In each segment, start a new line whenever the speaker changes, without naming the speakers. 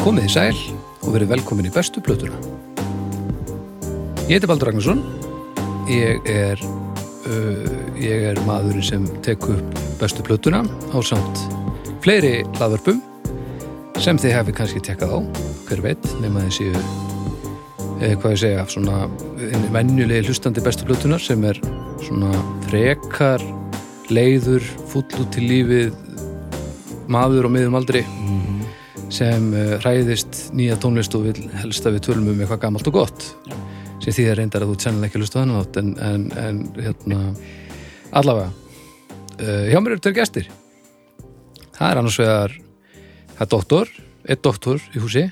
Komið í sæl og verið velkomin í bestu plötuna. Ég heiti Baldur Ragnarsson. Ég er, uh, ég er maðurinn sem tekur upp bestu plötuna á samt fleiri laðvörpum sem þið hefði kannski tekkað á, hver veit, nema þið séu eh, hvað ég segja, svona venjulegi hlustandi bestu plötunar sem er svona frekar leiður, fúll út í lífið maður á miðum aldri sem eh, hræðist nýja tónlist og vil helst að við tölum um eitthvað gamalt og gott sem því er reyndar að þú sennilega ekki hlusta þannig átt en, en, en hérna allavega uh, hjá mér eru tveir gestir það er annars vegar það er doktor, einn doktor í húsi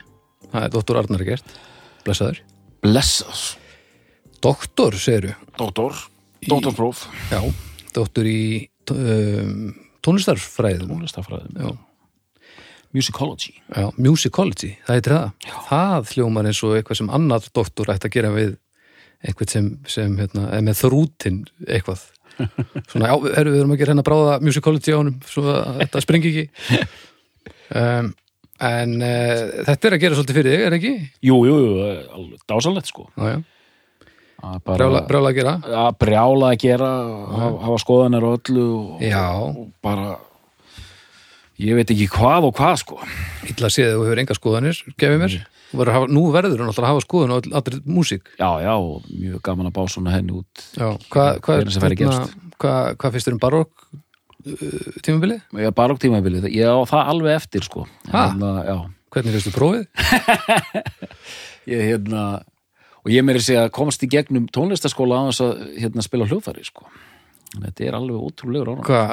það er doktor Arnar Gert blessaður
Blessas
Doktor, segiru?
Dóttor, dóttorpróf
Já. Doktor í um, tónlistarfræðum?
Múlistafræðum,
Já.
musicology
Já, musicology, það heitir það. Það hljómar eins og eitthvað sem annar doktor ætti að gera við eitthvað sem, sem hérna, eða með þrútin eitthvað. Svona, já, erum við erum að gera henn að bráða musicology á honum, svo að þetta springi ekki. Um, en uh, þetta er að gera svolítið fyrir þig, er ekki?
Jú, jú, jú, það er alveg dásalett sko
Já, já,
Það er bara-
brjála, brjála að gera.
Að brjála að gera, hafa, hafa skoðanir á öllu og,
Já,
og bara Ég veit ekki hvað og hvað sko
illa séð að þú hefur enga skoðanir, gefið mér. Þú verður að hafa, nú verður hún alltaf að hafa skoðan og allir músík.
Já, já, og mjög gaman að bá svona henni út
Já, hvað hva,
Hvenær sem færi gerst.
hva, hva finnst þér um barokk uh, tímabilið?
Ég er bara okk tímabilið, ég á það alveg eftir sko En
Ha?
hérna, Já,
Hvernig finnst þú prófið?
ég hérna Og ég meiri segja að komast í gegnum tónlistaskóla á þess að hérna, spila hljóðfæri sko En Þetta er alveg ótrúlegur ára
Hvað,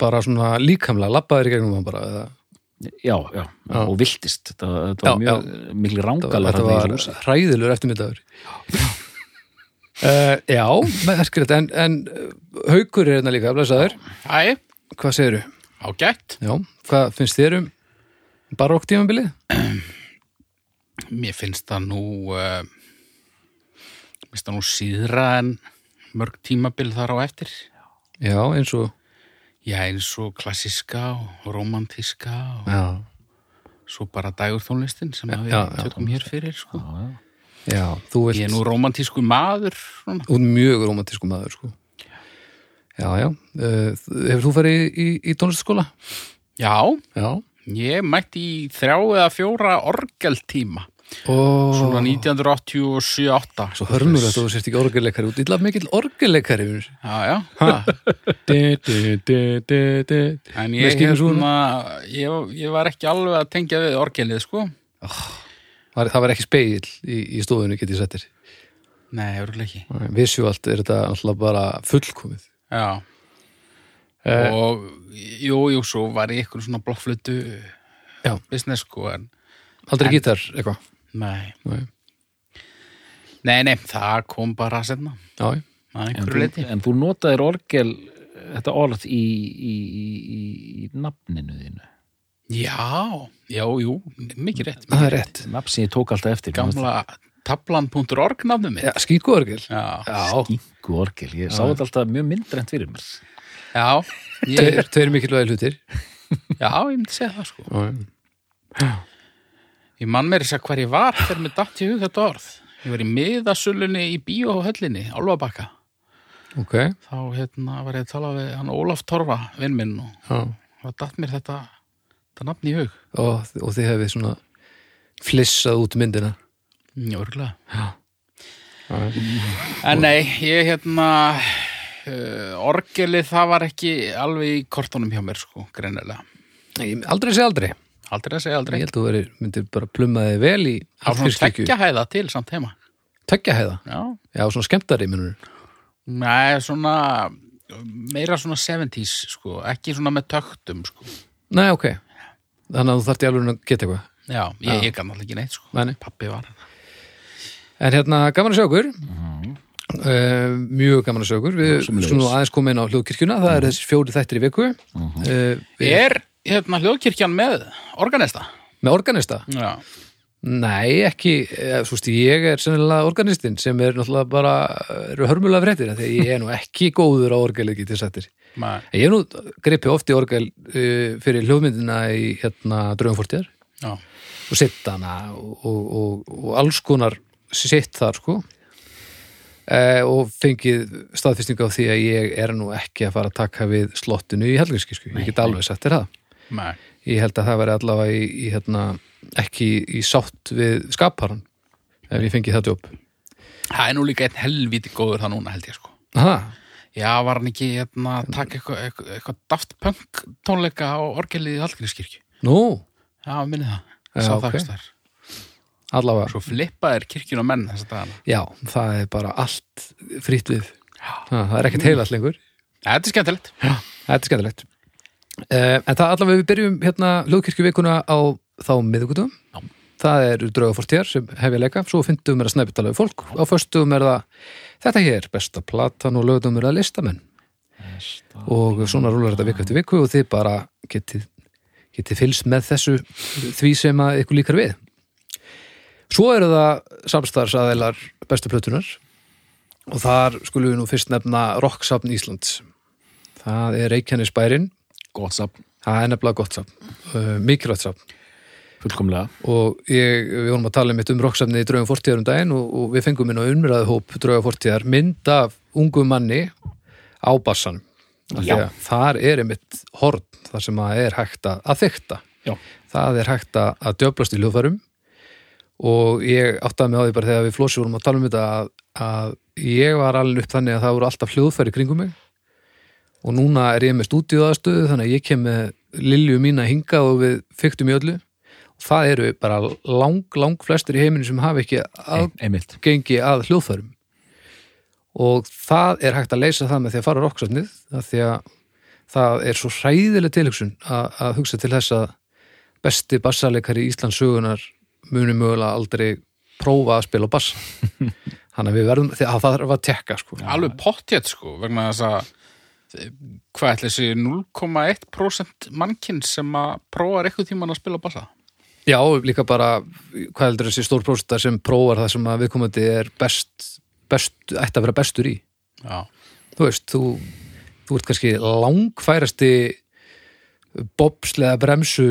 bara svona líkamlega, labbaðir í gegnum hann bara? Eða,
já, já, og viltist þetta, þetta var
Já,
mjög mikil rangalar
þetta
þetta
var
húsi
hræðilur eftirmyndagur. Uh, já, merkilegt, en, en uh, haukur er hérna líka, blæsaður.
Æ,
Hvað segirðu?
ágætt.
Já, hvað finnst þér um barokk tímabilið?
Mér finnst það nú, uh, mér finnst það nú síðra en mörg tímabil þar á eftir.
Já, eins og...
Já, eins og klassiska og romantíska og
Já.
svo bara dagurþónlistin sem að við
já, já,
tökum hér fyrir, sko.
Já, þú vilt...
Ég er nú romantísku maður, svona.
Hún er mjög romantísku maður, sko. Já, já. Uh, hefur þú farið í, í, í tónlistaskóla?
Já,
Já.
ég mætti í þrjá eða fjóra orgeltíma,
Og...
svona 1987-8.
Svo hörnur að þú sért ekki orgelleikari út. Ítla mikill orgelleikari, vinnur.
Já, já. Ha. En ég, hérna, ég, ég var ekki alveg að tengja við orgelið, sko.
Var, það var ekki spegil í, í stofunni, get ég sett þér.
Nei, örugglega ekki.
Visuált er þetta alltaf bara fullkomið.
Já. og jú, jú, svo var ég eitthvað svona blokkflutu
Já.
business, sko, en
Aldrei gítar, eitthvað.
nei.
Nei.
Nei, nei, það kom bara að setna.
Já, já.
Það
en,
er einhverju
þú-
leiti.
en þú notaðir orgel þetta orð í, í, í, í, í nafninu þínu
Já, já, jú, mikið rétt.
það er rétt.
nafn sem ég tók alltaf eftir
Gamla tablan.org nafnum mitt.
Já, skýtku orgel.
Já,
Já.
Gíku orgel, ég sá þetta alltaf mjög myndrænt fyrir mér
já, ég,
Tveir, tveir mikilvægi hlutir.
já, ég myndi segja það, sko.
Já, já.
Ég man meiri sér hver ég var þegar mér datt í hug þetta orð. Ég var í miðasölunni í bíóhöllinni, Álfabakka.
Ok.
Þá hérna var ég að tala við hann Ólaf Torfa, vinn minn, og
Já.
það datt mér þetta, þetta nafn í hug.
og, og þið hefði svona flissað út myndina
Já, örgulega. En nei, ég hérna, uh, orgelið það var ekki alveg í kortunum hjá mér, sko, greinilega.
Ég- aldrei sé aldrei ég
Aldrei að segja aldrei.
held að þú veri, myndir bara plumma þig vel í
Það var svona
Hallgrímskirkju.
tveggja hæða til samt heima.
Tveggja heiða,
Já.
já svona skemmtari minnur
Nei, svona, meira svona 70s, sko, ekki svona með töktum, sko.
nei ok, þannig að þú þarft í alveg að geta eitthvað
Já, ég, ég kann alltaf ekki neitt, sko.
Nei, nei.
Pappi var hérna.
en hérna gaman að sjá okkur Mhm. uh, mjög gaman að sjá okkur við skulum nú aðeins koma inn á hljóðkirkjuna það eru þessi fjóri þættir í viku uh, við,
Er, hérna, hljóðkirkjan með organista?
með organista
Já.
Nei, ekki, eh, þú veist, ég er sennilega organistinn sem er náttúrulega bara eh, eru hörmulega fréttir, af því að ég er nú ekki góður á orgelið getið sættir.
Nei,
Ég hef eh, nú gripið oft í orgel uh, fyrir hljóðmyndina í hérna Draugumfortjar
já.
og sittana og, og, og, og alls konar sitt þar sko eh, og fengið staðfistingu á því að ég er nú ekki að fara að taka við slottinu í Helgrískisku, ég get alveg sett þér það
Nei.
ég held að það væri allavega í, í, hérna, ekki í, í sátt við skaparan ef ég fengi þetta upp
Það er nú líka einn helviti góður það núna held ég sko.
Aha,
Já, var hann ekki hérna að taka eitthvað eitthva, eitthva Daft Punk tónleika á orgelið í Hallgrímskirkju?
nú,
Já, minni það.
Já,
Sá
ok.
það ekki þar.
allavega
Svo flippaðir kirkjun á menn þess að dagana.
já, það er bara allt fritt við
Já.
ha, það er ekkert heilast lengur
Ja, þetta er skemmtilegt.
Þetta er skemmtilegt. Uh, en það allavega við byrjum hérna hljóðkirkjuvikuna á þá miðugutum.
Já.
Það eru draugafortjar sem hefja leika, svo fyndum er að snæpi tala við fólk. Á föstum er það þetta hér, besta platan og lögum er að listamenn. Og svona rúlar þetta viku eftir viku og þið bara getið, getið fylgst með þessu því sem að ykkur líkar við. Svo eru það samstarfsaðilar bestu plötunar og þar skulum við nú fyrst nefna Rocksafn Íslands. Það er Reykjanesbærin,
Gott safn,
það er nefnilega gott safn, uh, mikilvægt safn
fullkomlega.
og ég, við vorum að tala mitt um roksafni í draugum fortíðar um daginn og, og við fengum inn á umræðu hóp drauga fortíðar mynd af ungu manni á bassanum. Af því
Já.
að Þar er einmitt horn, þar sem að er hægt að, að þykta.
Já.
Það er hægt að, að djöflast í hljóðfærum og ég áttaði mig á því bara þegar við flósi vorum að tala um þetta að, að ég var alveg upp þannig að það voru alltaf hljóðfæri kringum mig og núna er ég með stúdíuðastöðu þannig að ég kem með Lilju mína hingað og við fyktum í öllu og það eru bara lang, lang flestir í heiminu sem hafa ekki
Ein- Einmilt.
aðgengi að hljóðfærum og það er hægt að leysa það með því að fara roksafnið af því að það er svo hræðileg tilhugsun að, að hugsa til þess að besti bassarleikari í Íslands sögunar muni mögulega aldrei prófa að spila á bass þannig að við verðum, því að það þarf að tekka sko.
Alveg pottjætt sko, vegna þess að hvað ætla þessi 0,1% mannkinn sem að prófar eitthvað tíman að spila bassa?
Já, líka bara hvað heldur þessi stórprósta sem prófar það sem að viðkomandi er best, best ætti að vera bestur í
Já.
þú veist, þú, þú ert kannski langfærasti bobslega bremsu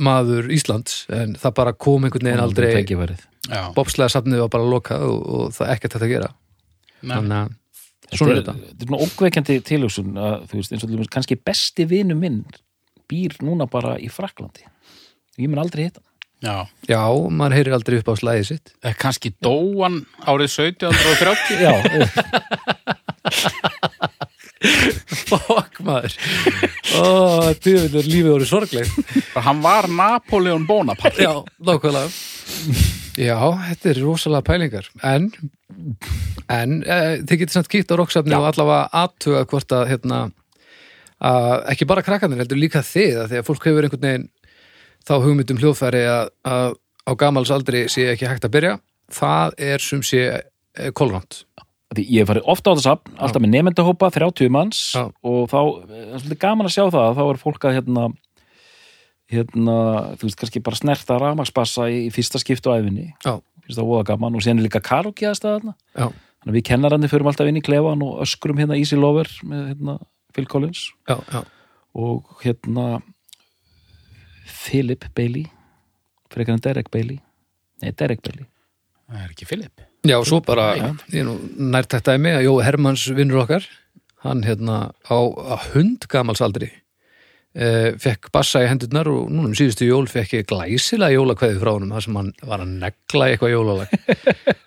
maður Íslands en það bara kom einhvern veginn aldrei
Tækifærið.
Já.
bobslega safnið var bara lokað og, og það er ekkert hægt að gera
Nei.
þannig að svona er þetta
Þetta er svona ókveikjandi tilhugsun að, þú veist, eins og til dæmis, kannski besti vinu minn býr núna bara í Fraklandi. Ég mun aldrei hitta. hann.
Já.
Já, maður heyrir aldrei upp á slæðið sitt
Eh, Kannski dóan árið 1730?
Já,
Fokk maður Ó, djöfnir, lífið voru sorgleg
Bara Hann var Napoleon Bonaparte.
Já, nákvæmlega Já, þetta er rosalega pælingar en, en e, þið getur samt kýtt á roksafni og allavega aðtuga hvort að hérna, að ekki bara krakkanir heldur líka þið að því að fólk hefur einhvern veginn þá hugmyndum hljóðfæri að, að á gamals aldri sé ekki hægt að byrja það er sum sé eh, kolrönd
Því ég hef farið ofta á þetta safn, alltaf með nefndahópa, 30 manns
Já.
og þá, eh, það er svolítið gaman að sjá það að þá er fólk að hérna, hérna, þú veist, kannski bara snerta rafmaksbassa í, í fyrsta skipt á æfinni
Já,
finnst það óða gaman og síðan er líka karaoke aðstæða
já,
þannig að við kennarandi förum alltaf inn í klefan og öskrum hérna Easy Lover með hérna Phil Collins
já, já
og hérna Philip Bailey frekar en Derek Bailey nei, Derek Bailey
Það er ekki Filip.
Já, og svo bara, ég er nú nært þetta er mig að Jói Hermanns vinnur okkar hann hérna á, á hund gamalsaldri eh, fekk bassa í hendurnar og núna um síðustu jól fekk ég glæsilega jólakveði frá honum þar sem hann var að negla í eitthvað jólalag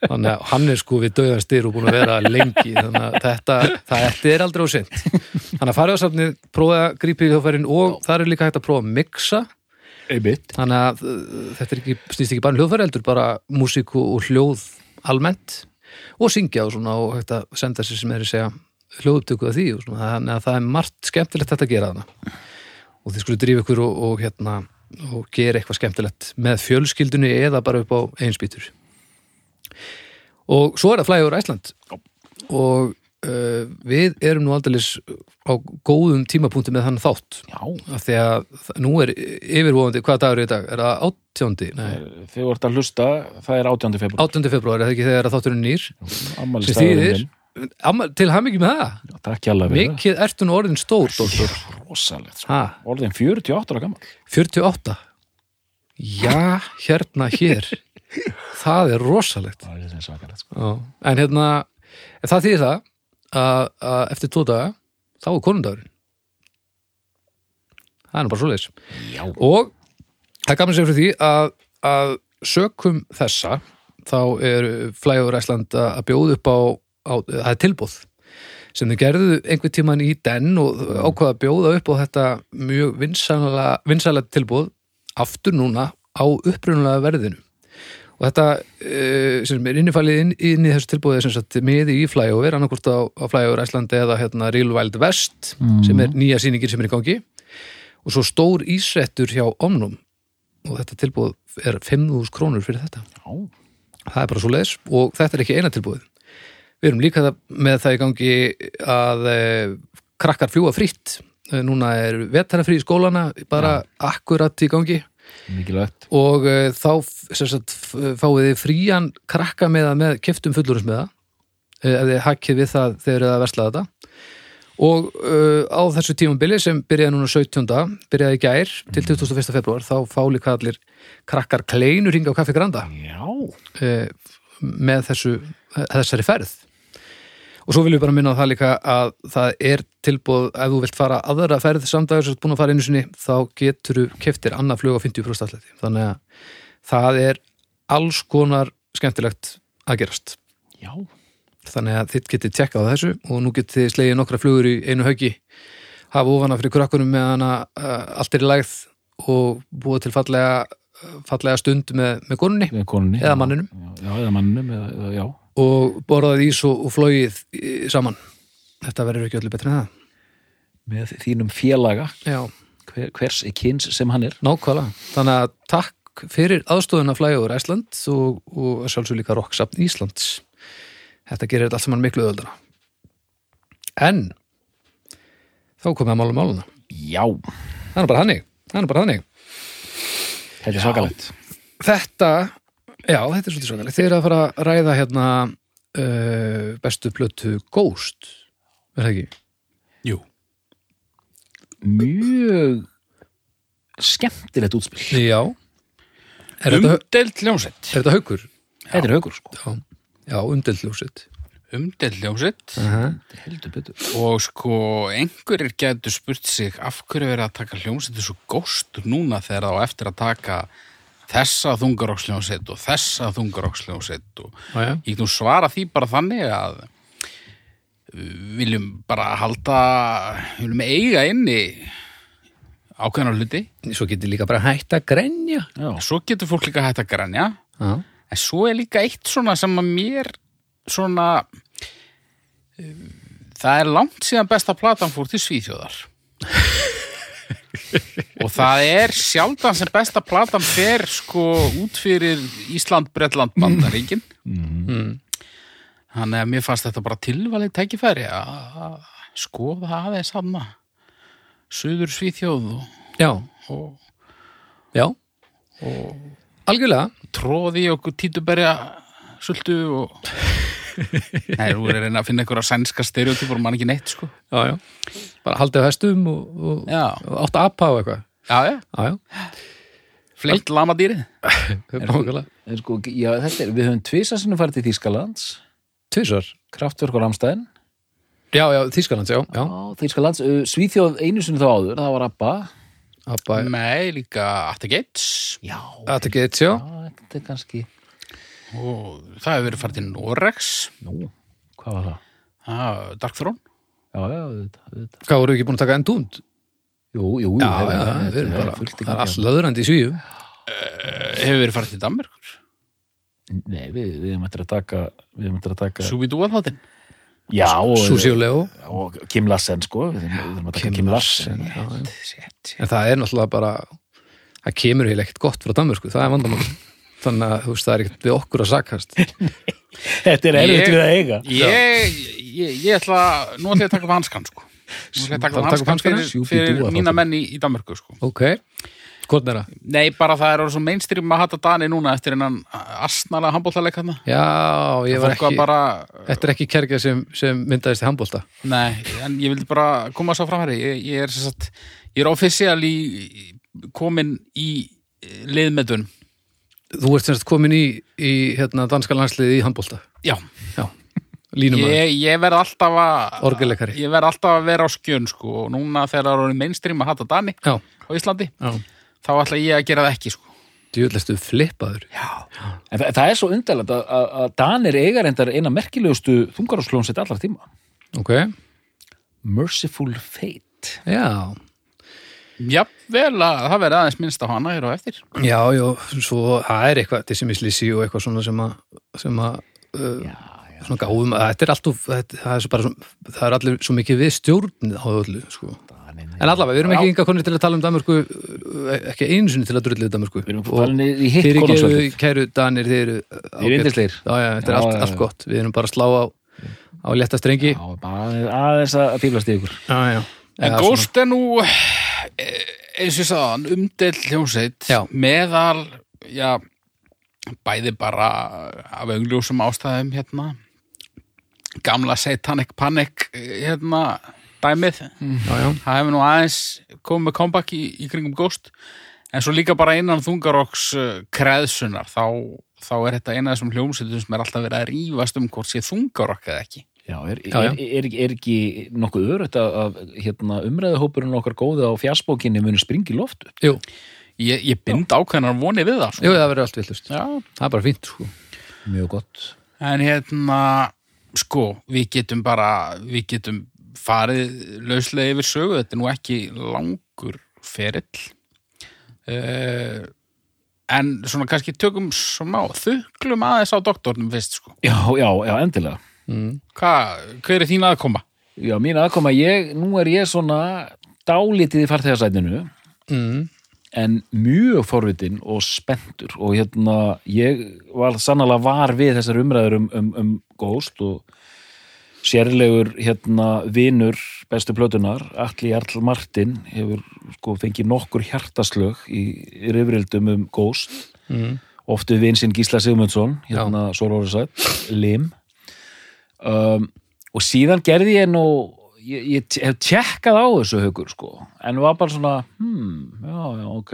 þannig að hann er sko við döðastyr og búin að vera lengi þannig að þetta, það þetta er aldrei á sint þannig að fariðarsafnið, prófa að grípa í þjófærin og þar er líka hægt að prófa að mixa
Einmitt.
þannig að uh, þetta er ekki, snýst ekki bara um hljóðfæri heldur bara músík og- og hljóð almennt og syngja og svona og hægt að senda sér sem er að segja hljóðuptöku að því og svona, þannig að það er margt skemmtilegt þetta að gera þarna og þið skulle drífa ykkur og, og hérna og gera eitthvað skemmtilegt með fjölskyldunni eða bara upp á einspýtur og svo er það flægur Æsland og uh, við erum nú aldeilis á góðum tímapunkti með þann þátt
Já,
af því að það- nú er yfirvofandi, hvaða dagur er í dag? Er það 18. Nei,
Eh, þegar þú ert að hlusta það er 18. februar
18. februar, er það ekki þegar að þátturinn er nýr sem
ammælistæðurinn
þýðir, amma, til hamingi með það
Takk hjálpa fyrir það.
mikið ertu nú orðin stór, dóttur
Rosalegt, sko.
ha,
orðin 48 ára gammal
48 já, hérna, hér það er rosalegt
Það er þetta svakalegt sko.
já. en hérna, en það þýðir það að, að eftir tvo daga þá er konundagurinn það er nú bara svoleiðis
Já.
og það er gaman sér fyrir því að, að sökum þessa þá er Flægur Æsland að bjóða upp á, á það er tilbúð sem þau gerðu einhver tíman í den og ákvaða að bjóða upp á þetta mjög vinsanlega, vinsanlega tilbúð aftur núna á upprunulega verðinu og þetta uh, sem er innifælið inn, inn í þessu tilbúðið sem sagt miði í Flyover, annarkvort á, á Flyover Æslandi eða hérna Real Wild West sem er nýja sýningin sem er í gangi og svo stór ísrettur hjá Omnum og þetta tilbúð er 5.000 krónur fyrir þetta
Já.
það er bara svo leis og þetta er ekki eina tilbúð við erum líka það- með það í gangi að e, krakkar fljúa fritt e, núna er vetarafrí í skólana bara akkurat í gangi
Mikilvægt.
og uh, þá f- sem sagt, f- fáið þið frían krakka með með keftum fullurins með það ef þið hakkið við það þegar þið að versla þetta og uh, á þessu tímambili sem byrjaði núna 17. byrjaði í gær til 21. februar þá fáli hvað allir krakkar kleinur hingað á Kaffi Granda
Já.
eh, með þessu, þessari ferð og svo viljum við bara minna á það líka að það er tilbúð ef þú vilt fara aðra ferð samdagur sem þú ert búin að fara einu sinni þá getur þú keftir annað flug á 50% allæti þannig að það er alls konar skemmtilegt að gerast
Já.
þannig að þitt getið tjekkað á þessu og nú getið þið slegið nokkra flugur í einu höggi hafa ofana fyrir krakkunum með hana uh, allt er í lægð og búið til fallega, fallega stund með, með konunni
Eða konunni.
Eða manninum.
Já, já, eða manninum. Eða, eða, já.
og borðað ís og, og flóið í- saman. Þetta verður ekki öllu betri en það.
Með þínum félaga,
Já,
hver, hvers kyns sem hann er.
nákvæmlega. Þannig að takk fyrir aðstóðuna flægur Æsland og, og að sjálfsög líka Rokksafn Íslands. Þetta gerir þetta allt saman miklu öðuldara. En þá komið að mála máluna.
Já.
Það er nú bara hannig. Það er nú bara hannig.
Þetta er svakalegt.
Þetta, já, þetta er svolítið svakalegt. Þið eru að fara að ræða hérna uh, bestu plötu Ghost. Er það ekki?
Jú.
Mjög skemmtilegt útspil.
Já. Er þetta,
Umdelt hljómsett.
er þetta haukur?
Þetta er haugur, sko.
Já, já umdelt ljósið.
Umdelt hljómsett
Heldur betur.
og sko einhverjir getur spurt sig af hverju verið að taka hljómsettu svo góst núna þegar það á eftir að taka þessa þungarokksljómsett og þessa þungarokksljómsett og
Já, já.
Ég get nú svara því bara þannig að viljum bara halda, viljum eiga inni ákveðna hluti.
Svo getur líka bara hægt að grenja.
Já.
Svo getur fólk líka hægt að grænja,
Já,
en svo er líka eitt svona sem að mér svona, eh, það er langt síðan besta platan fór til Svíþjóðar. og það er sjaldan sem besta platan fer sko út fyrir Ísland, Bretland, Bandaríkin. Þannig að mér fannst þetta bara tilvalið tækifæri að skoða aðeins hana Suður Svíþjóð og,
já,
og
já. Algjörlega.
tróði í okkur títuberja sultu og Nei, þú er að reyna að finna einhverja sænska stereotypur og mann ekki neitt, sko
Já, já. Bara haldið á hestum og, og,
Já,
og átt að apa og eitthvað.
já, já,
Já, já.
fleitt lamadýrið
Nákvæmlega.
En sko, já, þetta er, við höfum tvisa sinni farið til Þýskalands,
Tvisvar.
Kraftverk og Ramstæðin.
Já, já, Þýskalands, já, já.
Já, Þýskalands, uh, Svíþjóð einu sinni þá áður, það var Abba.
Abba,
Nei, líka Atta Gates
Já.
þetta gett, já.
Þetta er kannski,
og það hefur verið farið til Norex
nú, hvað var það?
ah, Dark Throne
Já, já, auðvitað, auðvitað.
Hvað voru ekki búin að taka enn túnd?
Jú, jú,
Já,
hefur-
já,
hefur-
við erum
hefur
bara,
fullt í
það er
gangi.
allt löðrandi í svíu.
Eh, hefur verið farið til Danmerkur
Nei, við, við erum eftir að taka, við erum eftir að taka,
Súbidúa þáttinn
já, og,
Susi og Leo.
og Kim Larsen, sko, við erum við erum að taka Kim Larsen.
já, já.
Sett,
En það er náttúrulega bara, það kemur heil ekkert gott frá Danmörku, það er vandamál. Þannig að, þú veist, það er ekkert við okkur að sakast.
Þetta er erfitt
Ég-
við að eiga.
Ég, ég, ég ætla, nú ætla ég að taka upp hanskan sko. Nú ætla ég að
Ætlarðu
taka upp
að taka upp
hanskan
hanskana?
fyrir,
Sjúpi
fyrir
dúa,
mína
þá.
menn í, í Danmörku sko.
Ok, hvort er það?
Nei, bara það er orðið svo mainstream að hata Dani núna eftir hennan asnalega handbóltaleik hann
Já, ég var
Fólk
ekki,
var bara,
þetta er ekki kergja sem, sem myndaðist í handbólta.
nei, en ég vildi bara koma svo framhæri, ég, ég er sem sagt, ég er offisíal í, eh, komin í liðmedun
Þú ert semst komin í, í hérna, danska landsliði í handbólta
Já,
Já, línum að
ég, ég verð alltaf að
Orgelleikari.
Ég verð alltaf að vera á skjön sko og núna þegar það eru mainstream að hata Dani
Já,
á Íslandi
já
þá ætla ég að gera það ekki sko
Djúðlestu flippaður
Já,
En það, það er svo undarlegt að, að, að Danir eiga reyndar eina merkilegustu þungarhásljónsett allar tíma.
Ok,
Merciful Fate.
já
jafnvel að það verði aðeins minnst á hana hér á eftir
Já, já, svo það er eitthvað dissimislissi og eitthvað svona sem að sem að uh,
Já, já.
svona gáðum að þetta er alltaf þetta, það, er svo bara, svo, það er allir svo mikið við stjórn á öllu, sko
Danir.
En allavega, við erum
Já.
ekki yngar konir til að tala um Danmörku uh, ekki einu sinni til að drullið Danmörku
Við erum farin í- í hitt
Þeir
konungsveldið.
eru, kæru Danir, þeir eru Þeir
eru yndislegir.
Já, já, þetta er
Já,
allt,
já, já.
allt gott, við erum bara að slá á á létta strengi
Já, bara aðeins að fýblast í ykkur.
Já, já
En
Eða
Ghost er nú eh, eins og ég sagðan umdelt hljómsveit
Já.
meðal já, bæði bara af augljósum ástæðum hérna gamla satanic panic eh, hérna dæmið
svona, Já, já,
það hefur nú aðeins komið með comeback í, í kringum Ghost en svo líka bara innan þungaroks eh, kreðsunar þá, þá er þetta eina af þessum hljómsveitum sem er alltaf verið að rífast um hvort sé þungarokk eða ekki
Já, er,
Já, já.
Er, er, er, er ekki nokkuð örugt að, að hérna, umræðahópurinn okkar góði á fjarsbókinni muni springi loftu?
jú,
ég, ég bind ákveðnar vonið við það
jú, það verður allt villust
Já,
Það er bara fínt, sko
Mjög gott.
En hérna, sko, við getum bara, við getum farið lauslega yfir sögu, þetta er nú ekki langur ferill. Uh, en svona kannski tökum smá, þuklum aðeins á doktornum fyrst, sko.
Já, já, já, endilega.
mm.
Hva, hver er þín aðkoma?
Já, mín aðkoma, ég, nú er ég svona dálítið í farþegarsætninu
Mm.
en mjög forvitin og spenntur og hérna, ég var sannlega var við þessar umræður um, um, um Ghost og sérlegur hérna vinur bestu plötunar, Atli Jarl Martin hefur sko fengið nokkur hjartaslög í, í rifrildum um Ghost
Mm.
oftu vin sinn Gísla Sigmundsson hérna Sórórisætt, Lim um, og síðan gerði ég nú ég, ég t- hef tjekkað á þessu haukur sko, en var bara svona hmm, já, já, ok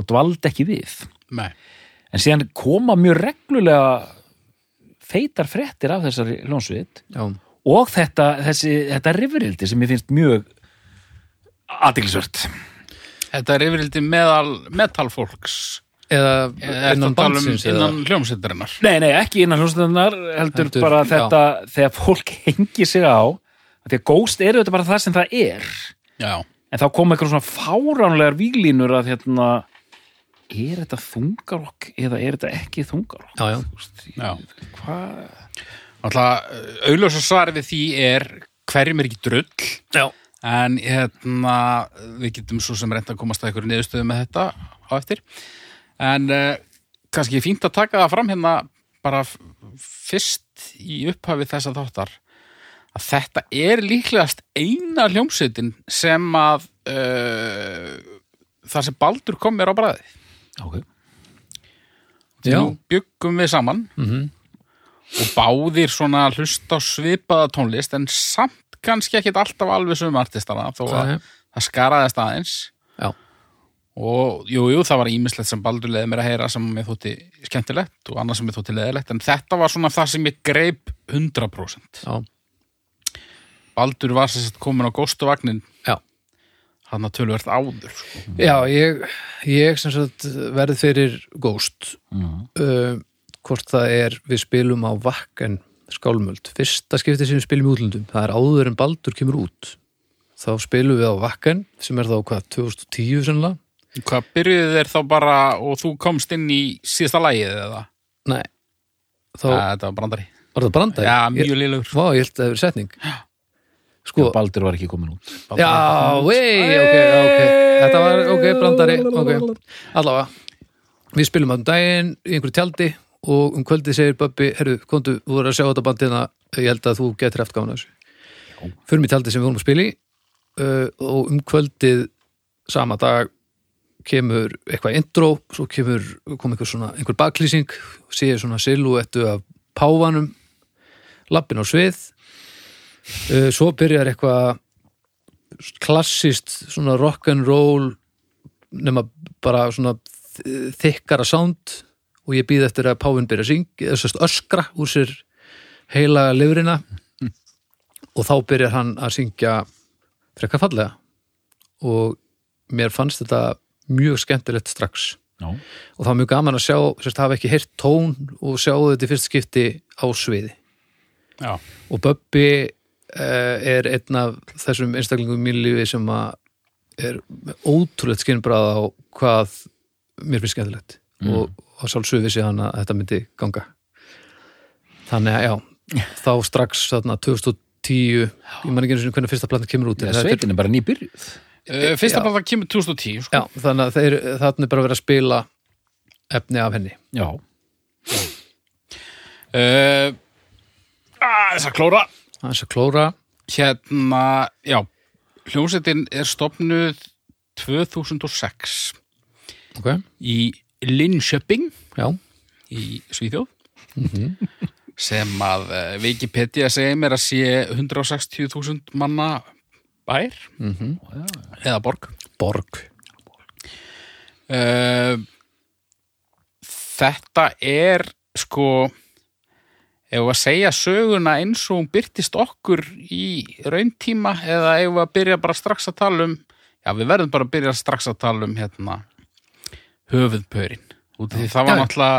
og dvaldi ekki við
Nei.
en síðan koma mjög reglulega feitar fréttir af þessari hljónsvit
Já,
og þetta, þessi, þetta rifrildi sem ég finnst mjög aðdeglisvört
Þetta er yfirildi meðal metalfólks.
eða
Eða
innan
ertu að tala um
bandsins eða-
Innan hljómsveitarinnar.
Nei, nei, ekki innan hljómsveitarnar heldur,
Heldur,
bara
já.
þetta þegar fólk hengi sig á því að Ghost er auðvitað bara það sem það er
Já.
en þá kom eitthvað svona fáránlegar víglínur að hérna er þetta þungarokk eða er þetta ekki þungarokk?
Já, já,
Já.
Hvað?
Alltaf, auðljósa svar við því er hverjum er ekki drull.
já.
En hérna, við getum svo sem reynda að komast að ykkur niðurstöðu með þetta á eftir. En uh, kannski fínt að taka það fram hérna bara f- fyrst í upphafi þessa þáttar að þetta er líklegast eina hljómsveitin sem að uh, það sem Baldur kom mér á bræði.
Ok.
Já.
Nú byggum við saman
Mhm.
og báðir svona hlusta á svipaða tónlist en samt kannski ekkit alltaf alveg sögum artistana þó að
Nei.
það skaraðist aðeins
Já.
og jú, jú, það var ímislegt sem Baldur leiði mér að heyra sem mér þótti skemmtilegt og annað sem mér þótti leiðilegt en þetta var svona það sem ég greip 100%
já,
Baldur var sérst komin á góstuvagnin
já.
hann að tölvert áður sko.
Já, ég, ég sem sagt verð fyrir Ghost
Mm.
uh, hvort það er við spilum á Vakken skálmöld fyrsta skipti sem við spilum í útlöndum það er áður en Baldur kemur út þá spilum við á Vakken sem er þá hvað, 2010 sennilega
Hvað byrjuðu þeir þá bara og þú komst inn í síðasta lagið eða?
Nei, þá
Æ, þetta var brandari
var það brandæg
Ah.
ég,
Já, mjög liðlegur
Vá, ég held að það hefur setning Sko,
Baldur var ekki komin út.
já, vei, ok, ok Þetta var, ok, brandari, ok Allavega, við spilum að um daginn í einhverju tjaldi og um kvöldið segir Böbbi, herru, komdu, þú voru að sjá þetta bandina ég held að þú getur eftir gána þessu Förum í tjaldi sem við vorum að spila í uh, og um kvöldið sama dag kemur eitthvað intro, svo kemur kom einhver svona, einhver baklýsing séu svona siluettu af páfanum lappin á svið uh, svo byrjar eitthvað klassist svona rock'n'roll nema bara svona aðeins eh, þykkara sound og ég býð eftir að Pávin byrja að syngja, þessast öskra úr sér heila lifrina og þá byrjar hann að syngja frekka fallega og mér fannst þetta mjög skemmtilegt strax
Já.
og það var mjög gaman að sjá, sérst, hafa ekki heyrt tón og sjá þetta í fyrst skipti á sviði
Já,
og Böbbi uh, er einn af þessum einstaklingum í mínu lífi sem að er ótrúlegt skinnbræð á hvað mér finnst skemmtilegt
Mm.
og, og sjálfsög vissi hann að þetta myndi ganga þannig að já þá strax þarna 2010 ég man ekki einu sinni hvernig fyrsta platan kemur út en
Já,
þetta er-
sveitin er bara nýbyrjuð
Eh, fyrsta
Já.
bara það kemur 2010 sko.
já, þannig að þeir, þarna er bara verið að spila efni af henni
Já,
uh, að, Ah, Þess að klóra
það er að klóra
Hérna, já Hljómsveitin er stopnuð 2006
ok,
í Linköping
já,
í Svíþjóð Mhm. sem að eh, Wikipedia segir mér að sé 160.000 manna bær Mhm. eða borg
borg
uh, Þetta er sko ef við að segja söguna eins og hún byrtist okkur í rauntíma eða ef við að byrja bara strax að tala um já við verðum bara að byrja strax að tala um hérna höfuðpörin út af því það var
Já.
náttúrulega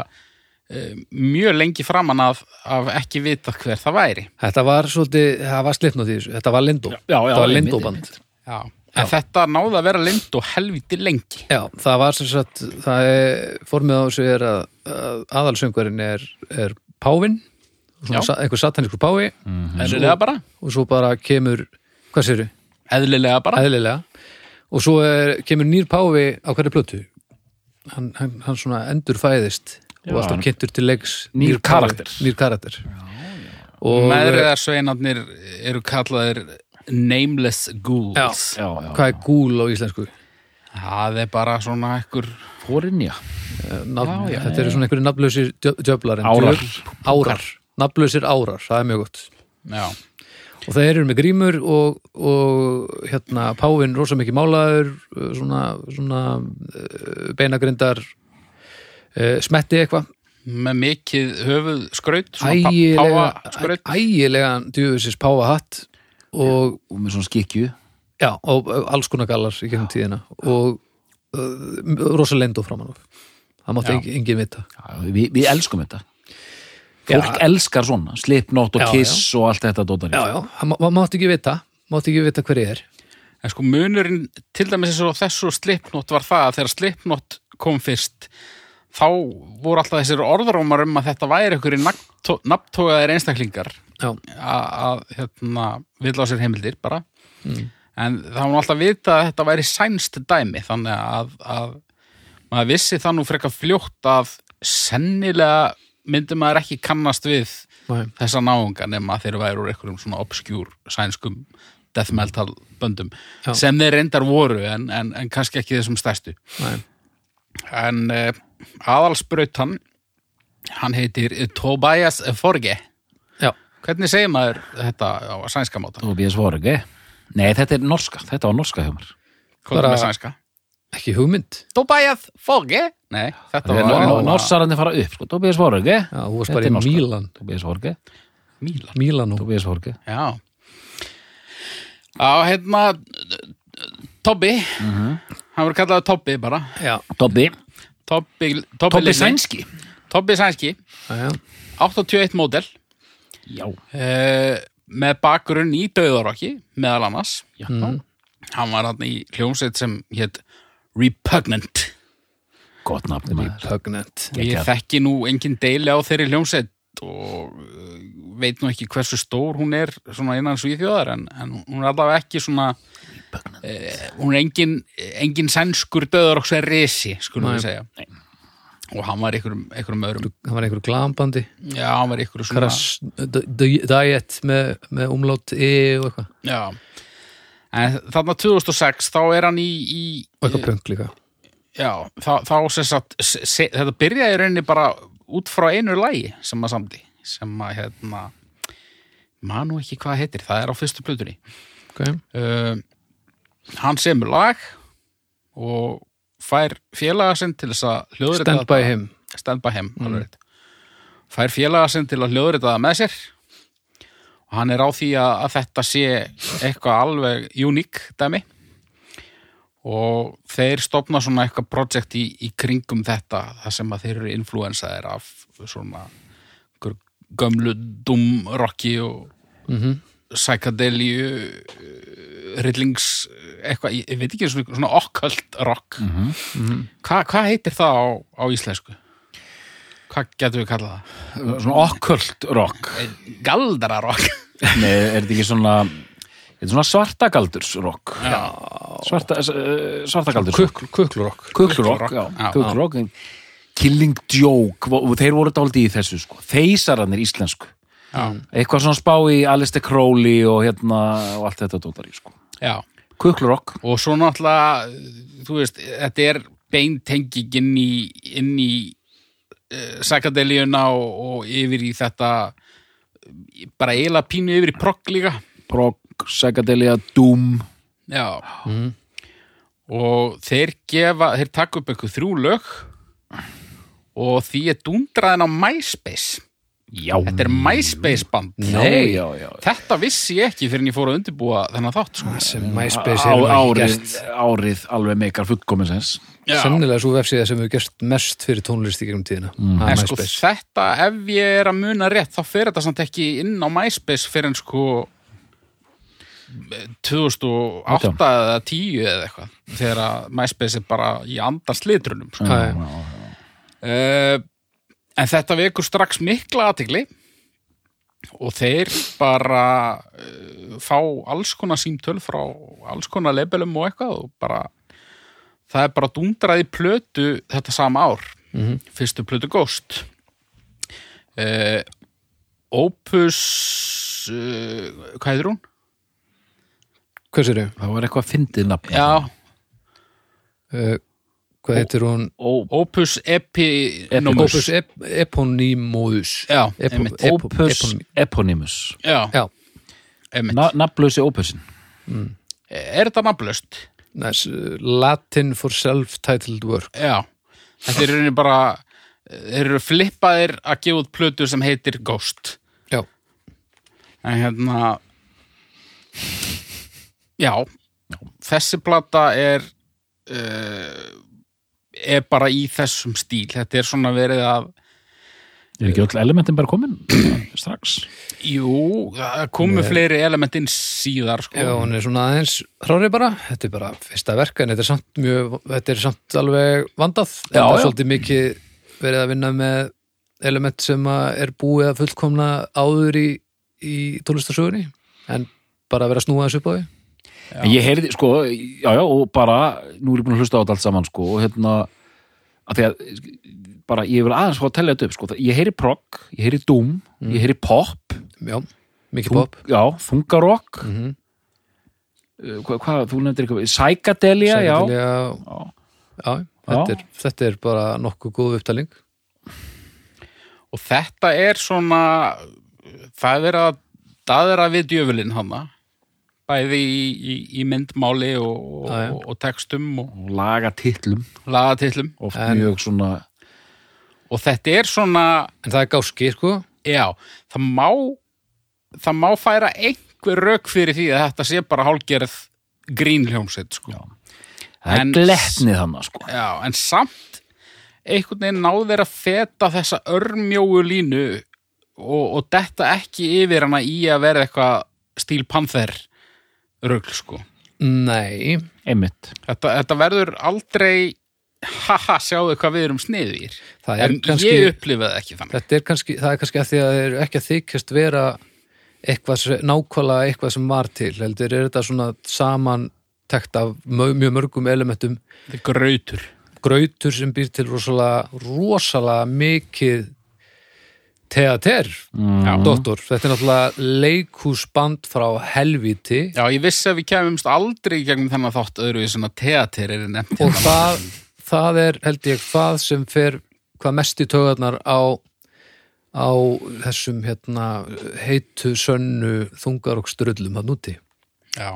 eh, mjög lengi framan af, af ekki vita hver það væri
þetta var svolítið, það var slipnótt í þessu þetta var Lindó,
já, já,
þetta var
einmitt,
Lindó-band
já. en þetta náði að vera lind og helviti lengi
Já, það var sem sagt það er, formið á þessu er að, að aðalsöngurinn er, er pávin
Já.
svona sa, einhver satanískur pávi
eðlilega bara,
og svo bara kemur, hvað séru,
eðlilega bara
eðlilega og svo er, kemur nýr pávi á hverju plötu hann, hann, hann svona endur fæðist og
Já,
alltaf
hann-
kynntur til leiks
Nýr
páfi-
karakter.
nýr karakter. og
meðriðarsveinarnir eru kallaðir nameless ghouls
já,
já,
hvað er gúl á íslensku?
það er bara svona ekkur
Hórinja
Nafn,
Já, já,
þetta eru svona einhverju nafnlausir djö- djöflar en
Árar.
djöf- árar, nafnlausir árar það er mjög gott
já,
og þeir eru með grímur og, og hérna Pávin rosa mikið málaður uh, svona, svona uh, beinagrindar uh, smetti eitthvað
með mikið höfuð skraut svona páa
ægilega,
skraut
ægilega djúfisins Páva hatt og,
Og með svona skikju
já, og uh, alls konar gallar í gegnum tíðina og uh, rosa lendó framan af það mátti
Já.
engin, engin vita
Við við elskum þetta Fólk elskar svona, slipnót og
Já,
kiss og allt þetta dótar
já, já, það má- mátti ekki vita mátti ekki vita hver ég er
en sko munurinn til dæmis eins og þessu slipnót var það að þegar slipnót kom fyrst þá voru alltaf þessir orðrómar um að þetta væri einhverjir nafntógaðir einstaklingar
já,
að, að hérna, vill á sér heimildir bara en það var nú alltaf vita að þetta væri sænst dæmi þannig að, að maður vissi það nú frekar fljótt að sennilega myndi maður ekki kannast við
Nei.
þessa náunga nema þeir væru úr einhverjum svona obskjúr sænskum death metal böndum
Já.
sem þeir reyndar voru en, en, en kannski ekki þessum stærstu
næ,
en uh, aðalsbrautan hann heitir Tobias Forge
já
Hvernig segir maður þetta á sænska máta?
Og við svarum ekki eh? Nei, þetta er norska, þetta var norska hjá mér
Hvað
Bara-
með sænska?
ekki hugmynd
Tobias Foge? Nei, þetta
Þegar
var
nor- Norsararnir fara upp, sko, Tobias Forge
Já, þú varst bara í Mílan.
Tobias Forge,
Mílan.
Mílanó
Tobias Forge
Já. Á, hérna, Tobbi, hann verður kallaði Tobbi bara.
já,
Tobbi,
Tobbi, Tobbi,
Tobbi
Lilli.
Sænski
Tobbi Sænski,
já, já
81 módel,
Já,
uh, með bakgrunn í Dauðarokki, meðal annars.
já
Hann var hann í hljómsveit sem hétt Repugnant.
Gott nafni maður
Repugnant
Ég
Geggjað.
þekki nú engin deili á þeirri hljómsveit og uh, veit nú ekki hversu stór hún er svona innan svíþjóðar en, en hún er allavega ekki svona uh, hún er engin, engin sænskur döður okkur resi, skulum við
Nei.
segja og hann var einhverjum, einhverjum öðrum
hann var einhver glambandi
já, hann var einhverjum svona
Krass, d- d- diet með, með umlátt e og eitthvað
já. en þarna 2006 þá er hann í, í
og eitthvað punk líka
já, þá, þá sem sagt se, se- þetta byrjaði í rauninni bara út frá einu lagi sem maður samdi sem að hérna manu ekki hvað það heitir, það er á fyrstu plötunni
okay.
uh, hann semur lag og fær félaga sinn til þess að hljóðrita
Stand by him. Mm.
stand by him, alveg rétt fær félaga sinn til að hljóðrita það með sér og hann er á því að, að þetta sé eitthvað alveg uník dæmi og þeir stopna svona eitthvað projekt í, í kringum þetta þar sem að þeir eru influensaðir af svona einhver gömlu dumrocki og
Mhm.
psychedelíu rillings eitthvað, ég, ég veit ekki svona, svona okkalt rock mm -hmm. Hva, hvað heitir það á, á íslensku? hvað getum við kallað það?
uh, svona okkult rock
Eh, galdara rock
Nei, er þetta ekki svona þetta er svona svartagaldurs rock
já,
Svarta, uh, svartagaldurs
Kukl, kuklurokk
Kuklurokk,
Já.
já, Kuklurokk en Killing Joke, vo- og þeir voru dálítið í þessu sko, þeysarannir íslensku
já,
eitthvað svona spá í Alistair Crowley og hérna og allt þetta dótar í sko
já.
Kuklurokk,
og svo náttúrulega þú veist, þetta er beintenging inn í, inn í uh, psychedelíuna og, og yfir í þetta eh, bara eiginlega pínu yfir í progg líka
Prog, Sagadelia, Doom
Já.
Mhm.
Og þeir gefa, þeir taka upp einhver þrjú lög og því er dundraðin á MySpace.
Já,
Þetta er MySpace band.
Nei, já, já, já.
Þetta vissi ég ekki fyrir en ég fór að undirbúa þennan þátt. Sko.
sem MySpace
Á,
hefur ekki
árið,
gert
árið alveg meikar fullkominsens
Já.
sennilega svo vefsíða sem hefur gert mest fyrir tónlist í gegnum tíðina mm.
En sko þetta, ef ég er að muna rétt, þá fer þetta samt ekki inn á MySpace fyrir en sko 2008 eða 10 eða eitthvað. Þegar að MySpace er bara í andars litrunum. Sko.
Já,
Uh, en þetta vekur strax mikla aðtigli og þeir bara uh, fá alls konar símtöl frá alls konar labelum og eitthvað og bara það er bara dundraði plötu þetta sama ár fyrstu plötu Ghost uh, Opus uh, hvað heitir hún?
hvers eru?
Það var eitthvað fyndið nafn
Já,
Uh, hvað heitir hún?
Ó,
Opus Epinomus
Opus ep Eponymus
Já,
Epo-
E- einmitt.
Ep-
Opus
Eponym-
Eponymus
Já,
Já,
einmitt.
Na, Nafnlösi Opusin
Er þetta nafnlaust?
næs, Latin for self-titled work
Já, þetta er í rauninni bara þeir eru flippaðir að gefa út plötu sem heitir Ghost
Já,
en hérna já þessi plata er uh, er bara í þessum stíl þetta er svona verið að
Er ekki öll elementin bara komin? Strax
jú, það komu fleiri elementin síðar sko.
Já, hún er svona aðeins hrári bara, þetta er bara fyrsta verk en þetta er samt, mjög, þetta er samt alveg vandað,
Já,
þetta er
já.
svolítið mikið verið að vinna með element sem að er búið að fullkomna áður í, í tónlistarsögunni en bara að vera að snúa þessu upp á því
En ég heyrði, sko, já, já, og bara, nú er ég búin að hlusta á þetta allt saman, sko, og hérna, að því að, bara, ég vil aðeins fá að tella þetta upp, sko, það- ég heyri prog, ég heyri doom, ég heyri pop,
Já, mikið pop
já, þungarokk, mm -hmm. hvað, hvað, þú nefndir eitthvað, psychedelia, já,
já, já, þetta, er, þetta er bara nokkuð góð upptaling
og þetta er svona það er verið að daðra við djöfulinn hana bæði í, í, í myndmáli og,
Já, já.
og, og textum og
og laga titlum,
lagatillum
oft mjög svona,
og þetta er svona,
en það er gáski, sko
já, það má það má færa einhver rök fyrir því að þetta sé bara hálgerð grínljómsveit sko. já.
það er
En-
gletnið þannig, sko.
en samt einhvern veginn náðu þeir að feta þessa örmjóu línu og, og detta ekki yfir hana í að vera eitthvað stíl panther rögl sko
Nei,
Einmitt.
þetta, þetta verður aldrei haha, sjáðu hvað við erum sniðir
það er
en
kannski
ég upplifaði ekki þannig
þetta er kannski, það er kannski að því að þeir eru ekki að þykjast vera eitthvað, sem- nákvæmlega eitthvað sem var til heldur er þetta svona saman tekt af mö- mjög mörgum elementum
þetta er grautur
grautur sem býr til rosalega rosalega mikið teater mm. dottor, þetta er náttúrulega leikúsband frá helviti
Já, ég vissi að við kemumst aldrei í gegnum þennan þátt öðruvíð svona teater er nefnt hérna.
og það, það er held ég það sem fer hvað mest í tögarnar á, á þessum hérna, heitu, sönnu, þungar og strullum hann úti.
Já,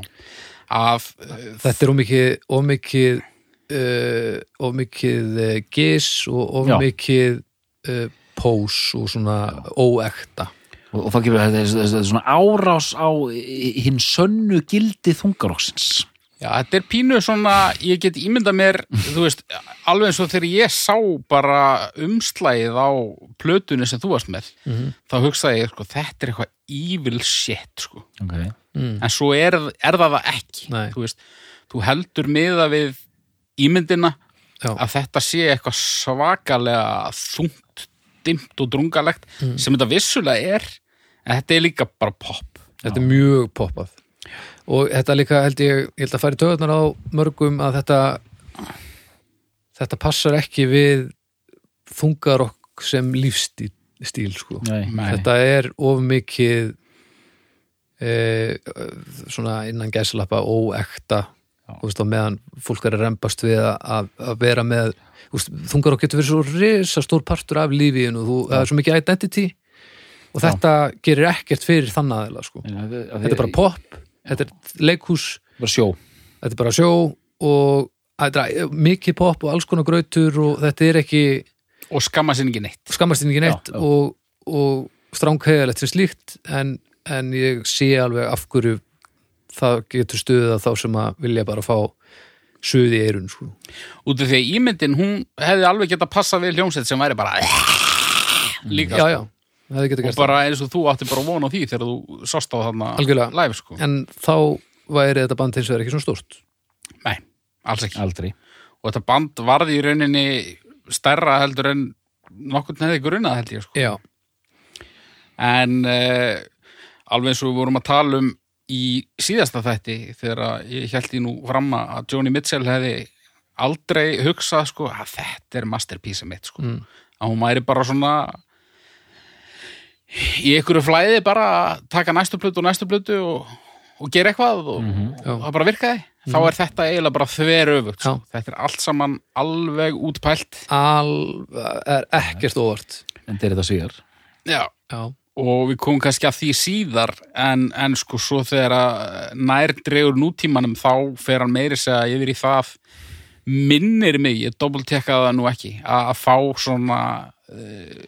af, uh,
Þetta er ómikið, ómikið uh, of mikið uh, gis og of
Já.
mikið uh, pós og svona óekta
og, og það gefur þetta er- þetta er svona árás á hinn sönnu gildi þungaróksins
Já, þetta er pínu svona, ég get ímyndað mér, þú veist, alveg eins og þegar ég sá bara umslægið á plötunni sem þú varst með, þá hugsaði ég, sko, þetta er eitthvað evil shit, sko.
okay.
En svo er, er það það ekki,
Nei.
þú veist, þú heldur miða við ímyndina
Já.
að þetta sé eitthvað svakalega þungt, dimmt og drungalegt,
Mm.
sem þetta vissulega er, en þetta er líka bara pop.
þetta er mjög poppað og þetta líka held ég, ég held að fara í töðunar á mörgum að þetta þetta passar ekki við þungarokk sem lífstíl stíl, sko.
Nei.
Nei.
þetta er of mikið e, svona innan gæslappa óekta og veist, á meðan fólk er að rembast við að- að, að vera með úst, þungarokk getur verið svo risa stór partur af lífiðinu, þú, það er svo mikið identity og þetta gerir ekkert fyrir þann aðeila sko. þetta er bara pop, þetta er leikhús
bara sjó
þetta er bara sjó og þetta er mikið pop og alls konar grautur og þetta er ekki
Og skamma sinni ekki neitt.
skammast ekki neitt
Já, já.
og, og stránkæðalegt fyrir slíkt en, en ég sé alveg af hverju það getur stuðið að þá sem að vilja bara fá suði í eirun sko.
út af því að ímyndin, hún hefði alveg geta passað við hljómsveit sem væri bara
Mm.
líka,
já, já, það getur
og
gert bara...
bara eins og þú átti bara von á því þegar þú sást á þarna
Algjörlega.
live, sko.
en þá væri þetta band hins vegar ekki svona stórt
Nei, alls ekki.
aldrei
Og þetta band varði í rauninni stærra heldur en nokkurn hefði grunað, held ég, sko.
já,
En uh, alveg eins og við vorum að tala um í síðasta þætti þegar að ég held því nú fram að Joni Mitchell hefði aldrei hugsað sko að þetta er masterpiece mitt sko.
Mm.
Að hún væri bara svona í einhverju flæði bara að taka næstu plötu og næstu plötu og, og gera eitthvað og,
Mhm. Já. Mhm.
og það bara virkaði. Þá er þetta eiginlega bara þveröfugt. Sko. Þetta er allt saman alveg útpælt.
al, er ekkert óvart
en þeir þetta svíjar
Já.
já,
og við komum kannski að því síðar en, en sko svo þegar að nær dregur nútímanum þá fer hann meiri segja yfir í það minnir mig, ég dobbultekka það nú ekki að, að fá svona uh,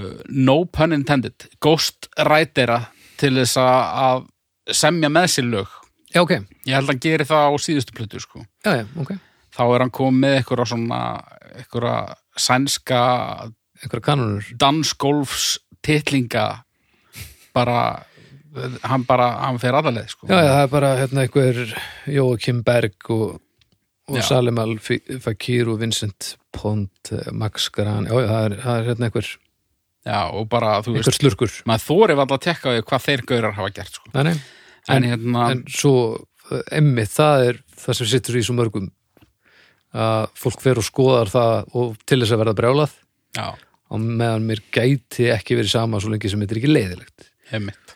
uh, no pun intended, ghostwritera til þess að, að semja með sér lög
já ok,
ég held að hann geri það á síðustu plötu sko
já, já, ok
þá er hann komið með einhverja svona einhverja sænska
einhverja kanonur
dansgolfs titlinga bara hann bara, hann fer aðaleg sko.
Já, já, það er bara hérna einhver Jóakim Berg og, og
Já.
Salem Al-Fakir og Vincent Pond, eh, Max Gran Já, já, það er, það er hérna einhver,
Já, og bara, þú
einhver
veist,
slurkur
maður þóri var að tekka á því hvað þeir gaurar hafa gert sko.
Nei, nei,
en, hérna,
en svo eh, emmitt, það er það sem sittur í svo mörgum að fólk fer og skoðar það og til þess að verða brjálað
já,
og meðan mér gæti ekki verið sama svo lengi sem þetta er ekki leiðilegt
heimitt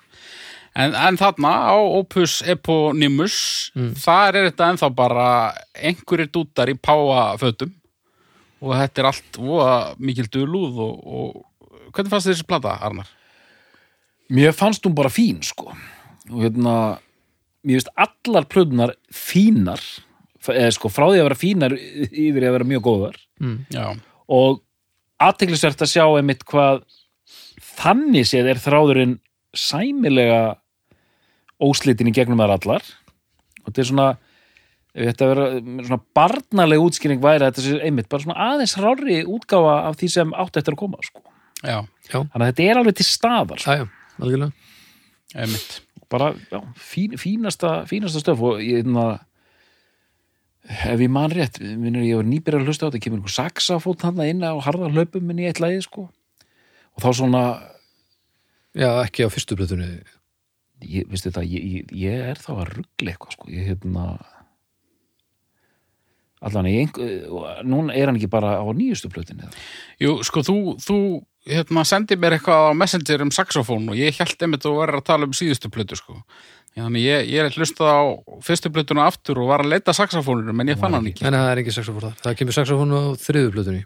en, en þarna á Opus Eponymus
Mm.
þar er þetta ennþá bara einhverjir dútar í páafötum og þetta er allt voða mikil dulúð og, og hvernig fannst þér þessi plata, Arnar?
Mér fannst hún bara fín sko og hérna mér finnst allar plöðunar fínar f- eða sko frá því að vera fínar yfir í að vera mjög góðar
Já,
og aðteglisvert að sjá einmitt hvað þannig séð er þráðurinn sæmilega óslitin í gegnum þar allar og þetta er svona ef þetta vera svona barnaleg útskýring væri að þetta sé einmitt bara svona aðeins rári útgáfa af því sem átt eftir að koma sko.
já,
þannig að þetta er alveg til staðar sko
Já, já, algjörlega
heimitt
bara já, fín, fínasta, fínasta stöf og ég hérna ef ég man rétt, minnur ég var nýbyrjar að hlusta á þetta, kemur einhver saxafót þarna inn á harða hlaupum minn í eitt lagi sko og þá svona,
Já, ekki á fyrstu plötunni
ég, veistu þetta ég, ég, ég er þá að ruggla eitthvað sko ég hérna allan, ég einhver núna er hann ekki bara á nýjustu plötinni eða?
Jú, sko, þú, þú hérna, sendi mér eitthvað á Messenger um saxofón og ég held einmitt að þú verður að tala um síðustu plötu, sko. Já, Þannig ég, ég er hlustað á fyrstu plötuna aftur og var að leita saxofónunum, en ég fann hann ekki.
Nei, nei, það er ekki saxofór þar, það kemur saxofónu á þriðu plötunni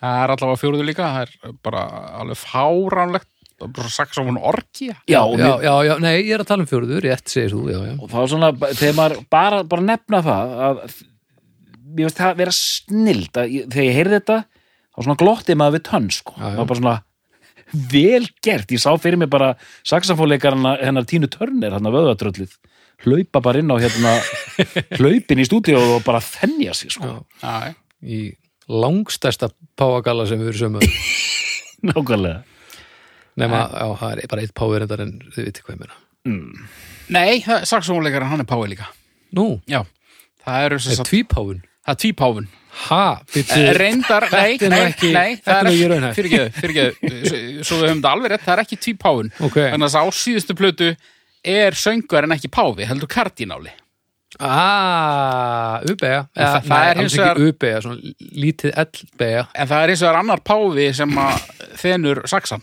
Það er allavega fjóruðu líka, það er bara alveg fáránlegt, það er bara saxofón orkja.
já, og mér,
já, já, já, nei, ég er að tala um fjörður, rétt segir þú, já, já.
og þá svona, þegar maður bara, bara nefna það að mér finnst það vera snild að, ég- þegar ég heyrði þetta þá svona glotti maður við tönn sko.
Já, já.
það var bara svona vel gert ég sá fyrir mig bara saxafóleikarna hennar Tínu Törner, hann að vöðvatröllið hlaupa bara inn á hérna hlaupin í stúdíu og bara þennja sig sko.
Já, já.
í langstæsta páagalla sem við erum sömu
nákvæmlega
nema, já, það er bara eitt páverendar en þið viti hvað ég meina
Nei, saksónleikarinn hann er pái líka
Nú,
Já, það eru sem
er
sagt
tvípáfun
Það er tvípáfun
Ha, byrju
Eh, Reyndar, nei,
Þetta er nú
nei,
ekki-
nei
þetta er
það
nú
er
ekki
ekki,
raunhæft.
fyrirgeðu, fyrirgeðu svo- Svo við höfum þetta alveg rétt, það er ekki tvípáfun
Ok.
Þannig að á síðustu plötu er söngar en ekki páfi, heldur kardináli
Ah, ubeja
það-
Eða,
það
nei,
er hins
alls
vegar-
ekki ubeja, svona lítið E ellbeja
En það er eins og það er annar páfi sem að þenur saksan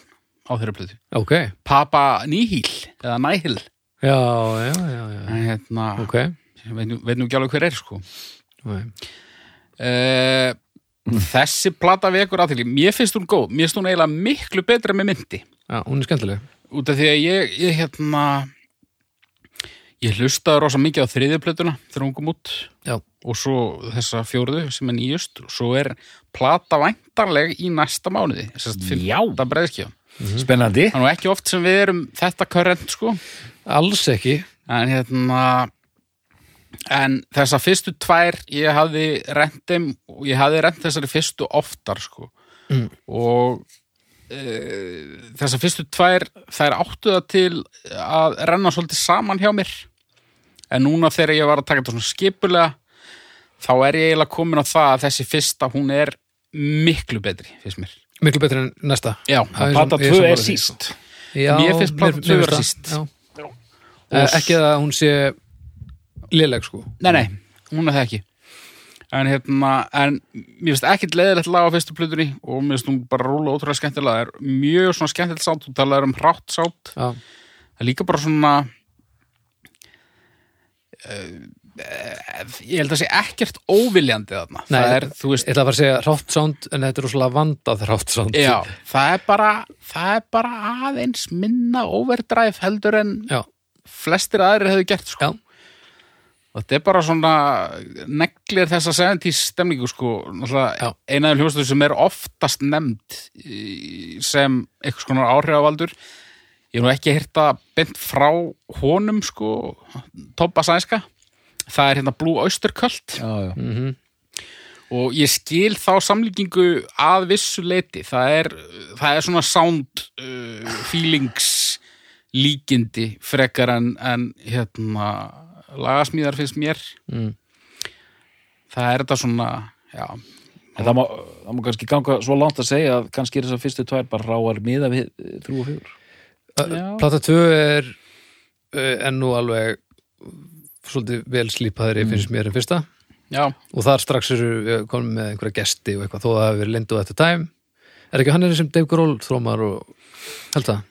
á þeirra plötu.
Ok,
Papa Nihil eða Nihil.
já, já, já, já.
En Hérna,
Ok,
ég veit, nú- veit nú ekki alveg hver er sko.
Nei.
Uh, þessi plata vekur aðtili, mér finnst hún góð, mér finnst hún eiginlega miklu betra með myndi.
já, hún er skemmtileg
Út af því að ég, ég hérna, ég hlustaði rosa mikið á þriðju plötuna þegar hún kom út
Já,
og svo þessa fjórðu sem er nýjust og svo er plata væntarleg í næsta mánuði, sérst
Já.
15. breiðskjá.
spennandi
Það er nú ekki oft sem við erum þetta körrent sko
alls ekki
En hérna En þessa fyrstu tvær Ég hafði rent þeim og Ég hafði rent þessari fyrstu oftar sko
Mm.
Og e, Þessar fyrstu tvær Þær áttu það til að renna svolítið saman hjá mér En núna þegar ég var að taka þetta svona skipulega Þá er ég eiginlega komin á það að þessi fyrsta hún er miklu betri, finnst mér.
Miklu betur en næsta
Já,
Það er
Plata
sam- ég
2
sammála
er
því,
síst
Já,
Mér finnst platan tvö vera
það.
síst.
Já. Eh, Ekki að hún sé léleg sko
Nei, nei, hún er það ekki En hérna, en mér finnst ekkit leiðilegt lag á fyrstu plötunni og mér finnst hún bara rúla ótrúlega skemmtilega það er mjög svona skemmtilegt sátt, þú talaðir um hrátt sátt
Já,
það er líka bara svona uh, ég held að sé ekkert óviljandi þarna
Nei,
það er, þú
ég
veist,
ætla að fara að segja rátt sound en þetta er rosalega vandað rátt sound
já það er bara, það er bara aðeins minna overdrive heldur en
já,
flestir aðrir hefðu gert sko.
Já.
og þetta er bara svona neglir þessa 70s stemningu sko, náttúrulega
Já.
eina af hljómsveitum sem er oftast nefnd í- sem einhvers konar áhrifavaldur ég hef nú ekki hérta bent frá honum sko, Tobba Sænska það er hérna Blue Oyster Cult
já, já.
og ég skil þá samlíkingu að vissu leiti það er, það er svona sound uh, feelings líkindi frekar en, en hérna lagasmíðar finnst mér
Mm.
það er þetta svona já,
En það má, það má kannski ganga svo langt að segja að kannski er þess að fyrstu tvær bara ráar miða við eh, þrjú og fjögur.
Já.
Plata 2 er eh, enn nú alveg svolítið vel slípaðri
Mm.
finnst mér en fyrsta
já,
og þar strax eru við komum með einhverja gesti og eitthvað þó að það hafi verið lindu þetta tæm Er ekki hann er sem Dave Grohl þrómar og held það?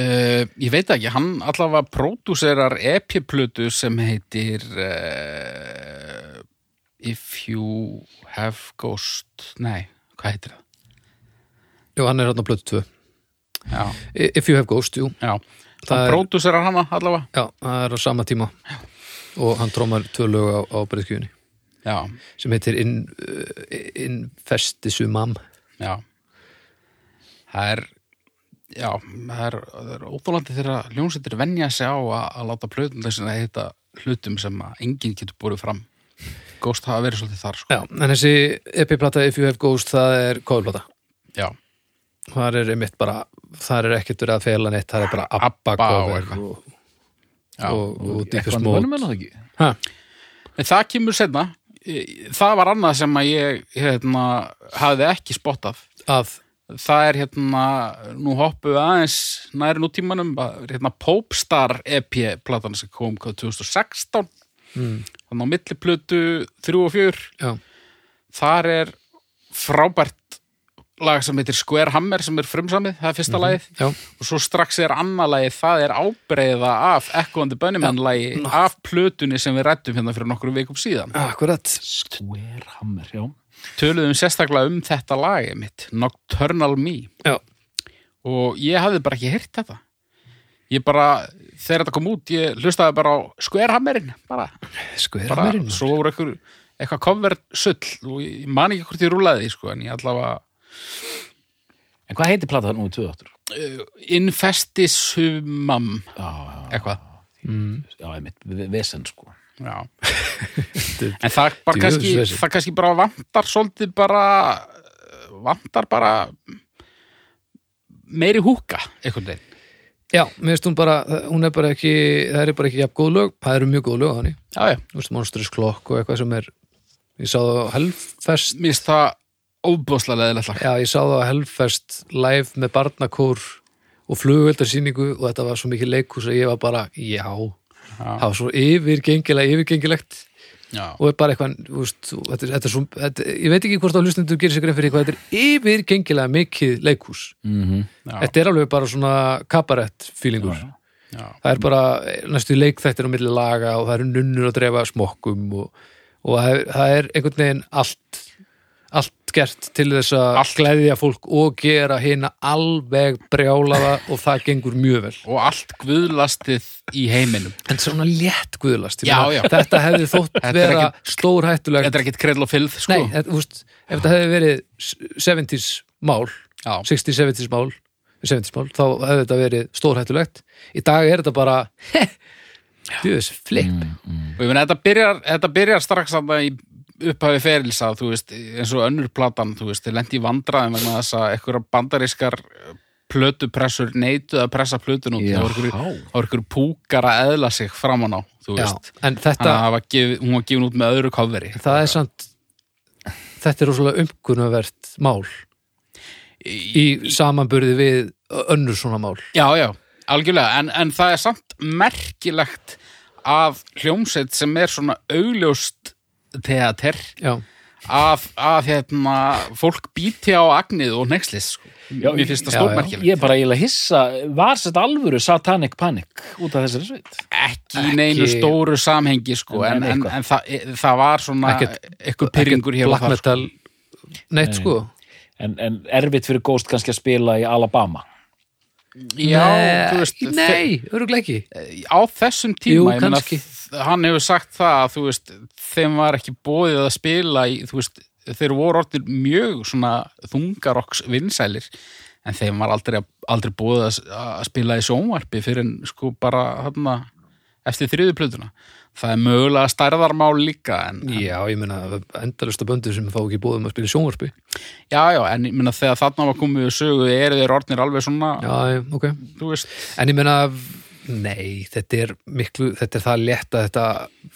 uh, ég veit ekki hann allavega pródúserar epiplötu sem heitir uh, If You Have Ghost nei, hvað heitir það?
Jú, hann er hann á blötu 2
Já,
If you have ghost, jú,
já,
Það
hann
er-
pródúserar hana allavega
já, það er á sama tíma og hann trómar tvö lög á, á breyðskjöfunni
já,
sem heitir In, uh, in Festisumam
Já Það er Já, það er, það er óþólandi þegar ljónsettir venja sig á að, að láta plötunleysin að heita hlutum sem að enginn getur borðið fram Ghost hafa verið svolítið þar sko.
Já, en þessi epiplata If You Have Ghost það er kóðplata
Já,
þar er einmitt bara, þar er ekkert verið að fela neitt, það er bara Abba
Abba og
cover
eitthvað.
og,
Já,
og, og Deepest
Eitthvað
Mode
mönnum er það ekki?
ha,
en það kemur senna Það var annað sem að ég hérna, hafði ekki spottað
að,
Það er hérna, nú hoppum við aðeins næri nútímanum, það er, hérna Popstar EP-platan sem kom hvað, 2016
Mm.
þannig á milli plötu 3 og 4
já,
þar er frábært lag sem heitir Square Hammer sem er frumsamið, það er fyrsta lagið
já
og svo strax er annað lagið, það er ábreyða af Echo and the Bunnymen lagi af plötunni sem við rættum hérna fyrir nokkru vikum síðan
Akkurat,
Square Hammer, já.
töluðum sérstaklega um þetta lagið mitt Nocturnal Me
já,
og ég hafði bara ekki heyrt þetta ég bara, þegar þetta kom út ég hlustaði bara á Square Hammerin bara,
skverra
bara
mér inn
svo voru ykkur eitthvað cover sull og ég man ekki hvort ég rúlaði því, sko, en ég allavega
En hvað heitir platan nú í 28?
infestisumam
Já, já,
eitthvað,
já, einmitt, ve- vesen sko.
já en það bara
Djöfus
kannski
vesen.
það kannski bara vantar svolítið bara vantar bara meiri húka einhvern veginn
Já, mér finnst hún bara, hún er bara ekki, það er bara ekki jafn góð lög, það eru mjög góð lög á henni.
já, já.
Þú veist, Monstrous Clock og eitthvað sem er, ég sá það á Hellfest,
mér finnst það óbúðslega leðilegt lag
já, ég sá það á Hellfest live með barnakór og flugveldarsýningu og þetta var svo mikið leikhús að ég var bara, já, það var svo yfirgengilega, yfirgengilegt
já.
og er bara eitthvað, þú veist, þú- þetta er, þetta er svo, þetta, ég veit ekki hvort á hlustendur gerir sér grein fyrir hvað þetta er yfirgengilega mikið leikhús.
Mm -hmm.
Já.
Þetta er alveg bara svona kabarett feelingur.
Já.
það er bara næstu leikþættir á milli laga og það eru nunnur að dreifa smokkum og, og það, er, það er einhvern veginn allt allt gert til þess að
Allt.
gleðja fólk og gera hina alveg brjálaða og það gengur mjög vel
og allt guðlastið í heiminum
en svona létt guðlast ég
Já,
meina,
já.
þetta hefði þótt
Þetta er
vera
ekkit-
stórhættulegt
þetta er ekkit krell og fylð sko.
nei, þetta, úst, ef þetta hefði verið s- 70s mál
Já.
60s, 70s mál 70s mál, þá hefði þetta verið stórhættulegt í dag er þetta bara djöðis flip
Mm, og ég meina þetta byrjar, þetta byrjar strax að í upphafi ferils að þú veist eins og önnur platan, þú veist, þið lendi í vandræðum vegna þess að einhverja bandarískar eh, plötupressur neytu að pressa plötun út,
Já.
það var einhverju púkar að eðla sig framan á þú
Já,
veist,
en
þannig
þetta,
að það var gef, hún var gefin út með öðru kofveri
það er samt þetta er rosalega umkunnavert mál í samanburði við önnur svona mál
Já, já, algjörlega, en, en það er samt merkilegt að hljómsveit sem er svona augljóst teater
Já,
að, að hérna, fólk býti á agnið og nexlis sko. mér finnst
já,
það
já.
stórmerkilegt
Ég er bara eiginlega hissa, var sett alvöru satanic panic út af þessari sveit
ekki í neinu
Ekki-
stóru samhengi sko,
En- en
en, en,
eitthvað.
en það, það var svona
Ekkert-
eitthvað pyrringur hér og
black
það sko.
metal neitt sko
en, en erfitt fyrir Ghost kannski að spila í Alabama
já,
Nei,
þú veist
Nei, öruglega ekki
þe- á þessum
Jú,
tíma ég meina,
kannski.
þ- hann hefur sagt það að þú veist, þeim var ekki bóðið að spila í, þú veist, þeir voru orðnir mjög svona þungarokks vinsælir en þeim var aldrei, aldrei bóðið að, að spila í sjónvarpi fyrir en sko bara hana, eftir þriðu plötuna það er mögulega stærðarmál líka en,
Já, ég meina endalusta böndu sem fá ekki bóðum að spila í sjónvarpi
Já, já, en ég meina þegar þarna var komið við sögu, eru þeir orðnir alveg svona,
Já, já, ok
þú veist,
En ég meina, nei, þetta er miklu, þetta er það létt að þetta,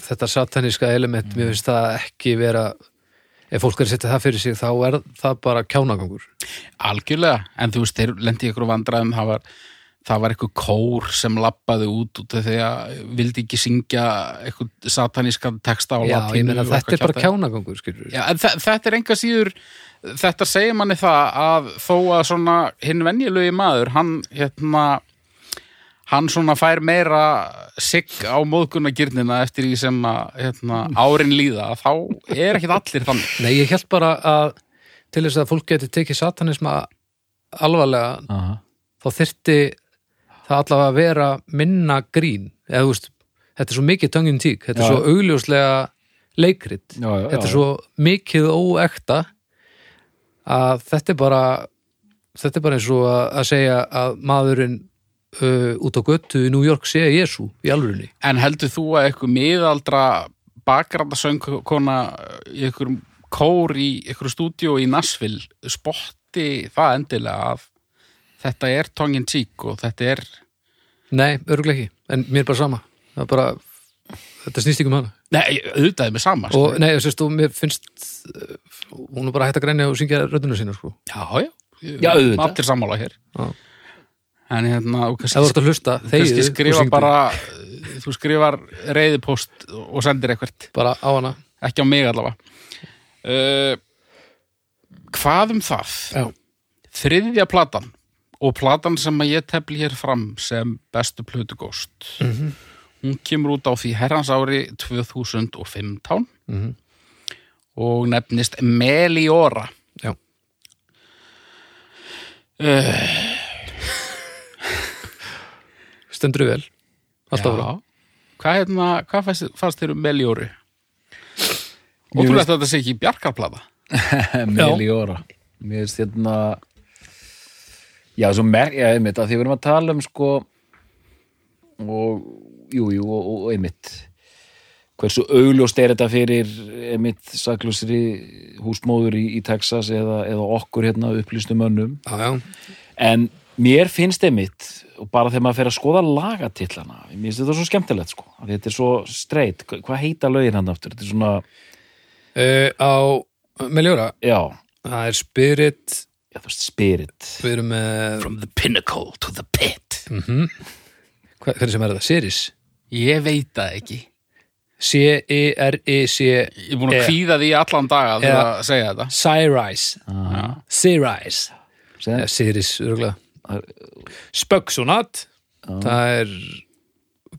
þetta sataníska element,
Mhm.
mér finnst það ekki vera, ef fólk er að setja það fyrir sig, þá er það bara kjánagangur.
algjörlega, en þú veist, þeir lendi ykkur vandræðum, það var, það var eitthvað kór sem lappaði út út af því að vildi ekki syngja eitthvað satanískan texta á
Já,
latínu.
ég meina,
og
þetta
eitthvað
er bara
kjaftaði.
kjánagangur, skilur við.
Já, en þe- þetta er enga síður, þetta segir manni það að þó að svona hinn venjulegi maður, hann hérna, hann svona fær meira sigg á móðgunagirnina eftir því sem að hérna, árin líða, þá er ekkit allir þannig.
Nei, ég held bara að til þess að fólk geti tekið satanisma alvarlega,
Aha.
þá þyrfti það allavega að vera minna grín, eða þú veist, þetta er svo mikið töngin tík, þetta
Já.
er svo augljóslega leikrit.
já, já,
þetta er svo mikið óekta að þetta er bara þetta er bara eins og að, að segja að maðurinn uh, út á göttu í New York sé Jésu í alvörunni
En heldur þú að eitthvað miðaldra bakgrændasöngkona í einhverjum kór í einhverju stúdíu í Nashville spotti það endilega að þetta er tongue in cheek og þetta er
nei, örgulega ekki, en mér er bara sama það er bara, þetta snýst ekki um hana
Nei, auðvitaði með sama sko.
og nei, þú veist, og mér finnst uh, hún er bara hægt að grænja og syngja rödduna sína sko.
Já, já,
Já, auðvitað.
Allir sammála hér
Já.
En hérna, og
ef þú ert
kannski,
að hlusta,
kannski
þegiðu og
skrifa
syngdu
bara þú skrifar reyðipost og sendir eitthvað,
bara á hana
ekki á mig allavega uh, Hvað um það?
já,
þriðja platan og platan sem að ég tefli hér fram sem bestu plötu góst Mhm. hún kemur út á því herrans ári 2015
Mhm.
og nefnist Meliora
já. Eh. stendur vel alltaf frá
hvað, hérna, hvað fannst, fannst þér um Melioru? Ótrúlegt að þetta sé ekki bjarkarplata
Meliora Mér finnst hérna Já, svo merk, já, einmitt að því við erum að tala um sko og, jú, jú, og, og einmitt hversu augljóst er þetta fyrir einmitt saklusri húsmóður í, í Texas eða, eða okkur hérna upplýstum önnum
Já, já,
en mér finnst einmitt og bara þegar maður fer að skoða lagatillana mér finnst þetta svo skemmtilegt sko af því þetta er svo straight, Hva- hvað heita lögin hann aftur þetta er svona,
Uh, á Meljóra,
já,
það er Spirit,
já þú veist, spirit
við erum með,
From the pinnacle to the pit
hva- hvernig sem er það, Siris?
Ég veit það ekki
E C-I-R-I-C,
Ég er búin að
Eh.
kvíða því allan daga þegar að segja þetta
Siris,
Já.
Siris,
Segðu-
Eh, Siris, örgulega. Spökksonat, það er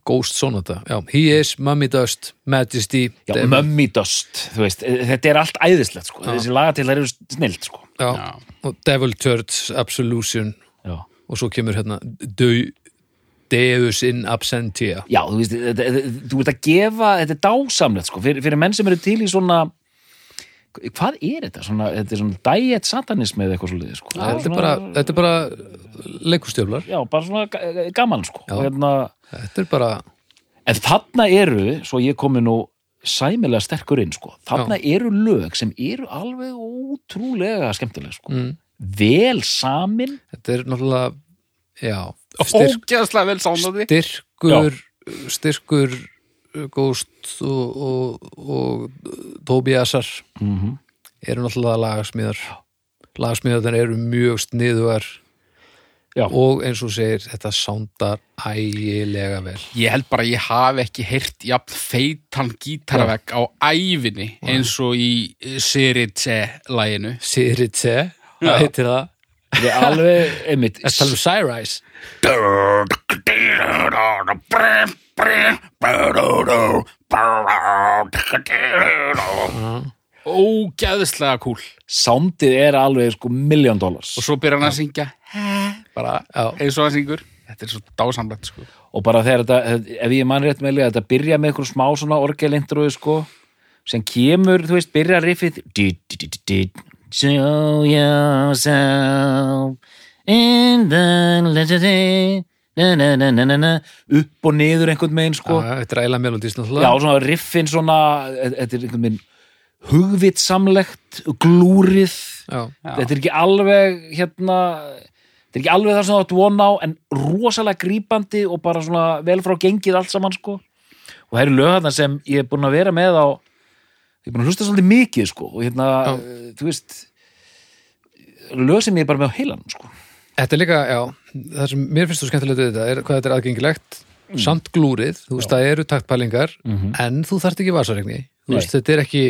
Ghost Sonata, já, He is, Mummy Dust, Majesty,
Já,
Dem-
Mummy Dust, þú veist, e- þetta er allt æðislegt, sko, þessi lagatillar eru snilt, sko.
já,
Já.
og Devil Turds, Absolution
Já.
og svo kemur hérna Deu, Deus in Absentia.
Já, þú veist, þetta- þetta- þú veist að gefa, þetta er dásamlegt, sko, fyrir, fyrir menn sem eru til í svona, hvað er þetta, svona, þetta er svona diet satanismi eða eitthvað svo liðið, sko.
Þetta er
svona-
bara, þetta er bara leikustjöflar.
Já, bara svona ga- gaman, sko. Já. Hérna,
Þetta er bara,
en þarna eru, svo ég komi nú sæmilega sterkur inn, sko, þarna eru lög sem eru alveg ótrúlega skemmtilega, sko. Mm. Vel samin,
þetta er náttúrulega já, styrk,
Ógeðslega vel sánaði
styrkur styrkur uh, Ghost og, og, og Tobiasar
Mhm.
eru náttúrulega lagasmíðar lagasmíðarnar eru mjög sniðugar
Já.
og eins og segir þetta sándar ægilega vel
Ég held bara að ég hafi ekki heyrt jafn feitan gítarvegg á ævinni eins og í eh, Siritse-læginu.
Siritse, það heitir það
þetta er alveg, einmitt,
Það tala um Syrize
Ógæðislega kúl.
soundið er alveg sko million dollars
Og svo byrjar hann að syngja bara
Já.
eins og hann syngur. Þetta er svo dásamlegt sko.
og bara þegar þetta, ef ég mann rétt meðlega þetta byrja með einhverjum smá svona orgelindrúi sko, sem kemur, þú veist byrja riffið did, did, did, did, show yourself in the legendary na, na, na, na, na, na, upp og niður einhvern veginn sko
Já, Þetta er ægilega melodís
Já,
náttúrulega
svona riffin svona, e, þetta er einhvern veginn hugvitsamlegt, glúrið
Já.
þetta er ekki alveg hérna, þetta er ekki alveg það sem þú átt von á en rosalega grípandi og bara svona vel frá gengið allt saman sko og það eru lögarnar sem ég er búin að vera með á ég er búin að hlusta svolítið mikið sko og hérna, eh, þú veist lög sem ég er bara með á heilan sko
Þetta er líka, já, það sem mér finnst þú skemmtilegt við þetta er hvað þetta er aðgengilegt
Mm.
samt glúrið, þú veist, það eru taktpælingar en þú þarft ekki vasaregni þú
Mhm. Nei.
veist, þetta er ekki,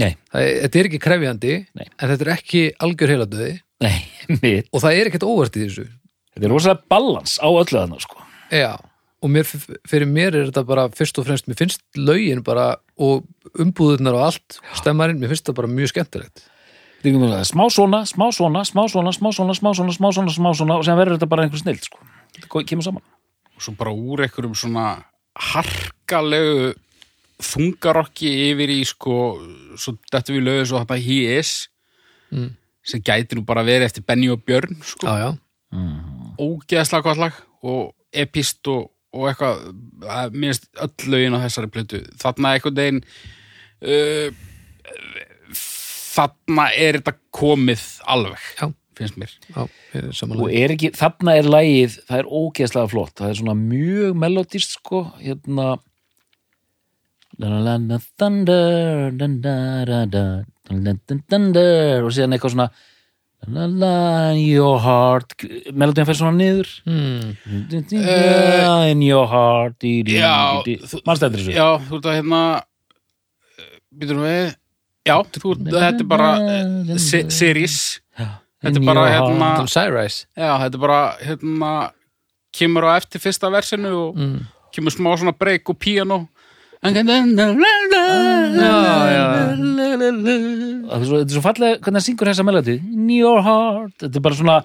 Nei,
það er, þetta er ekki krefjandi
Nei.
en þetta er ekki algjör heiladöði
nei, mitt
og það er ekkert óvart í þessu
Þetta er rosalega balans á öllu þarna sko
já, og mér, fyrir mér er þetta bara fyrst og fremst, mér finnst lögin bara og umbúðurnar og allt stemmarinn, mér finnst það bara mjög skemmtilegt
Þetta er einhvern veginn að smá svona, smá svona, smá svona, smá svona, smá svona, smá svona, smá svona og sem verður þetta bara einhver snill sko. Þetta kemur saman.
og svo bara úr einhverjum svona harkalegu þungarokki yfir í sko, svo þetta við lögum svo þetta He Is sem gæti nú bara verið eftir Benny og Björn
Mm.
sko,
já, já,
ógeðslega gott lag og epist og, og eitthvað að minnst öll lögin á þessari plötu þarna einhvern veginn uh, þarna er þetta komið alveg,
Já.
finnst mér
já, ég er
Og
samanlega
er ekki, þarna er lagið, það er ógeðslega flott, það er svona mjög melodist sko, hérna La la la la thunder, da da da da, la la la thunder og síðan eitthvað svona La la la your heart, melodíðan fer svona niður
hmm.
In your heart, di di
Mm. Já,
di
þú-
Manstættir þessu?
Já, þú ert að hérna Býtum við Já, þú ert, þetta er bara eh, se- Series Þetta er bara hérna
Þetta er Syrize
Já, þetta er bara hérna Kemur á eftir fyrsta versinu og Kemur smá svona break og piano
já, já.
Það er svo- þetta er svo fallega hvernig það syngur þessa melodi In your heart þetta er bara svona,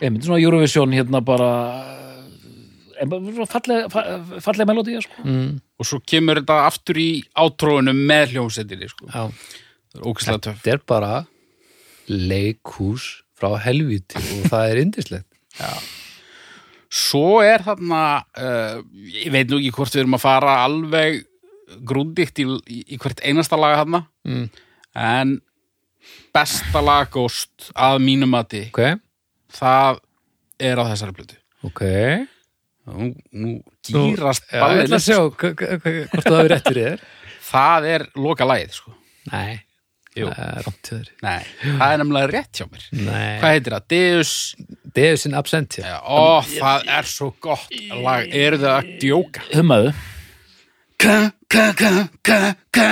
einmitt svona Eurovision hérna bara eh, en bara svona fallega, fa- fallega melodi sko.
Og svo kemur þetta aftur í átróinu með hljómsettinni sko.
Já.
ógislega töff
þetta er bara leikhús frá helvíti og það er indislegt
Svo er þarna, uh, ég veit nú ekki hvort við erum að fara alveg grúndíkt í, í, í hvert einasta laga þarna,
Mm.
en besta laggóst að mínum mati,
ok,
það er á þessari plötu.
ok
Nú, nú gýrast
Já, ég ætla að
ballið,
sjá hva- hva- hva- hvort það er rétt fyrir þér
það er loka lagið, sko.
nei,
Jú.
það er rámt fyrir
Nei, það er nefnilega rétt hjá mér.
nei,
Hvað heitir það? Deus?
Deus in absentia
Já, Ó, það er svo gott lag. Eru þau að djóka?
Hummaðu.
ka, ka, ka, ka, ka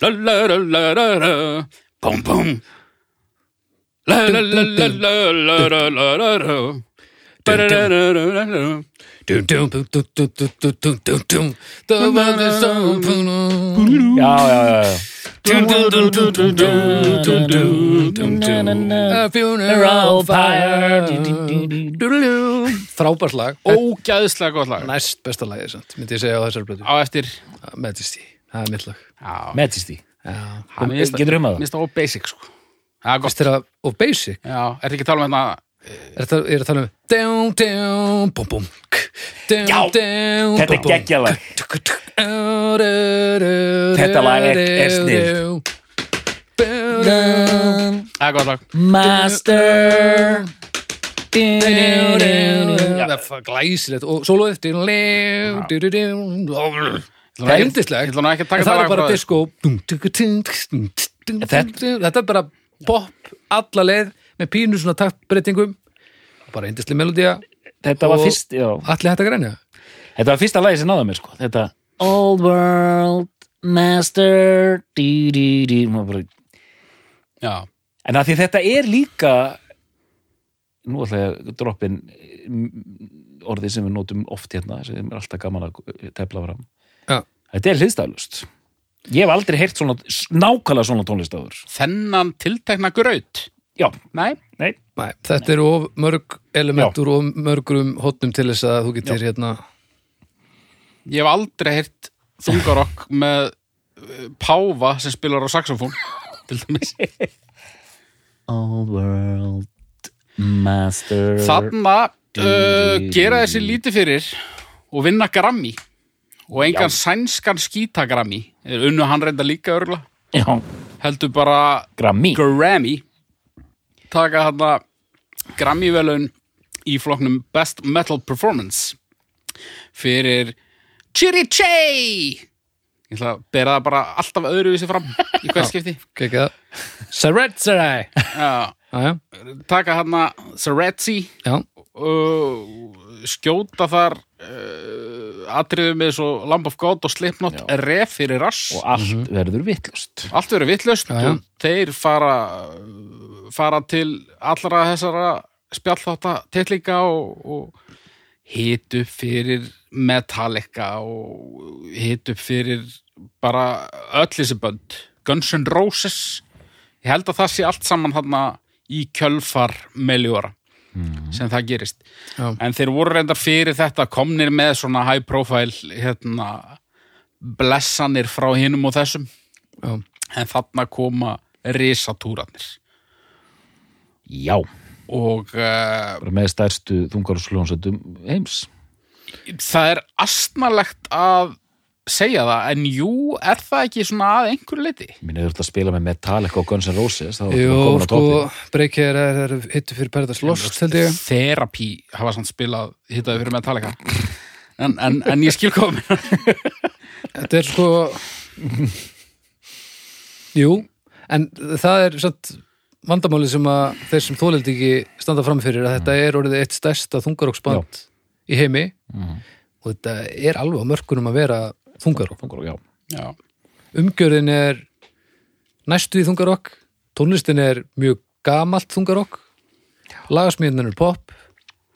la, la, la, la, la, la bum, bum la, la, la, la, la, la, la, la, la, la Ba, da, da, da, da, da, da.
dum dum dum dum dum dum dum dum dum dum the world is so blue.
Já, já, já, já.
Dum, dum, dum, dum, dum, dum, dum, dum, dum, dum. A funeral fire Oh. Dúdúdú. frábært lag
Ógæðslega gott lag
næst besta lagið samt, myndi ég segja á þessari blötu
Á eftir
Majesty, það er mitt lag
Já,
Majesty.
það mér finnst-
Getur hummað það?
Mér finnst það of basic sko Það er gott
Vist þeirra, og basic
Já, ertu ekki að tala um þetta
er það, er að tala um dum dum bum bum dum
Já,
dum
þetta er geggjalag. Þetta lag er- er snillt.
Það er gott lag
Master.
Það er fa- glæsilegt og sólóið Það er
Ég
yndislegt
ætla nú ekki að taka
En það er
þetta lag
bara
frá þér.
disco Þetta er bara pop alla leið með pínu svona taktbreytingum bara indislega melodía
Þetta var
Og-
fyrst, já.
Allir hægt að grænja
Þetta var fyrsta lagi sem náða mér, sko. Þetta. Old World Master. Dí, dí, dí. Nú var bara
Já,
En að því þetta er líka nú ætla ég að droppin orðið sem við notum oft hérna sem er alltaf gaman að tefla fram
Já.
Þetta er hliðstæðlust Ég hef aldrei heyrt svona, nákvæmlega svona tónlist áður
þennan tiltekna graut
Já,
Nei,
nei
Nei, þetta eru of mörg element úr of mörgum hotnum til þess að þú getur hérna
Ég hef aldrei heyrt þungarokk með eh, páfa sem spilar á saxofón til dæmis.
All world master
Þarna uh, gera þessi lítið fyrir og vinna Grammy og engan sænskan skýta Grammy Eh, unnu hann reynda líka örla
Já,
heldur bara
Grammy
Grammy taka þarna Grammy velun í flokknum Best Metal Performance fyrir Chiri Chey Ég ætla að bera það bara alltaf öðruvísi fram í hvert skipti
kekja Saretsarai
Já,
Já,
taka hana Saretsi
já,
og skjóta þar uh, atriðu með svo Lamb of God og Slipknot ref fyrir rass
og allt verður vittlust
allt verið vitlaust
Já, já.
og þeir fara fara til allra þessara spjallþáta tillinga og, og hit upp fyrir Metallica og hit upp fyrir bara öll þessi bönd Guns N' Roses ég held að það sé allt saman þarna í kjölfar Meliora sem það gerist
já,
en þeir voru reyndar fyrir þetta komnir með svona high profile hérna, blessanir frá hinum og þessum
já.
en þarna koma risatúrarnir
Já,
og uh,
bara með stærstu þungar og slónsöndum heims
það er astnalegt að segja það, en jú, er það ekki svona að einhverju leiti?
Minni þurft að spila með Metallica og Guns N' Roses þá ertu
Jú,
bara komin á
sko,
toppinn.
breykir er, er hittu fyrir Paradise Lost, held ég
Therapy hafa samt spilað hittaði fyrir Metallica en, en, en ég skil komin
Þetta er sko Jú, en það er satt vandamáli sem að þeir sem þóleldi ekki standa fram fyrir að
Mm.
þetta er orðið eitt stærsta þungaróksband í heimi
Mm.
og þetta er alveg á mörkunum að vera þungaró
Þungar og já
Já,
umgjörðin er næstu í þungarokk tónlistin er mjög gamalt þungarokk lagasmíðin er pop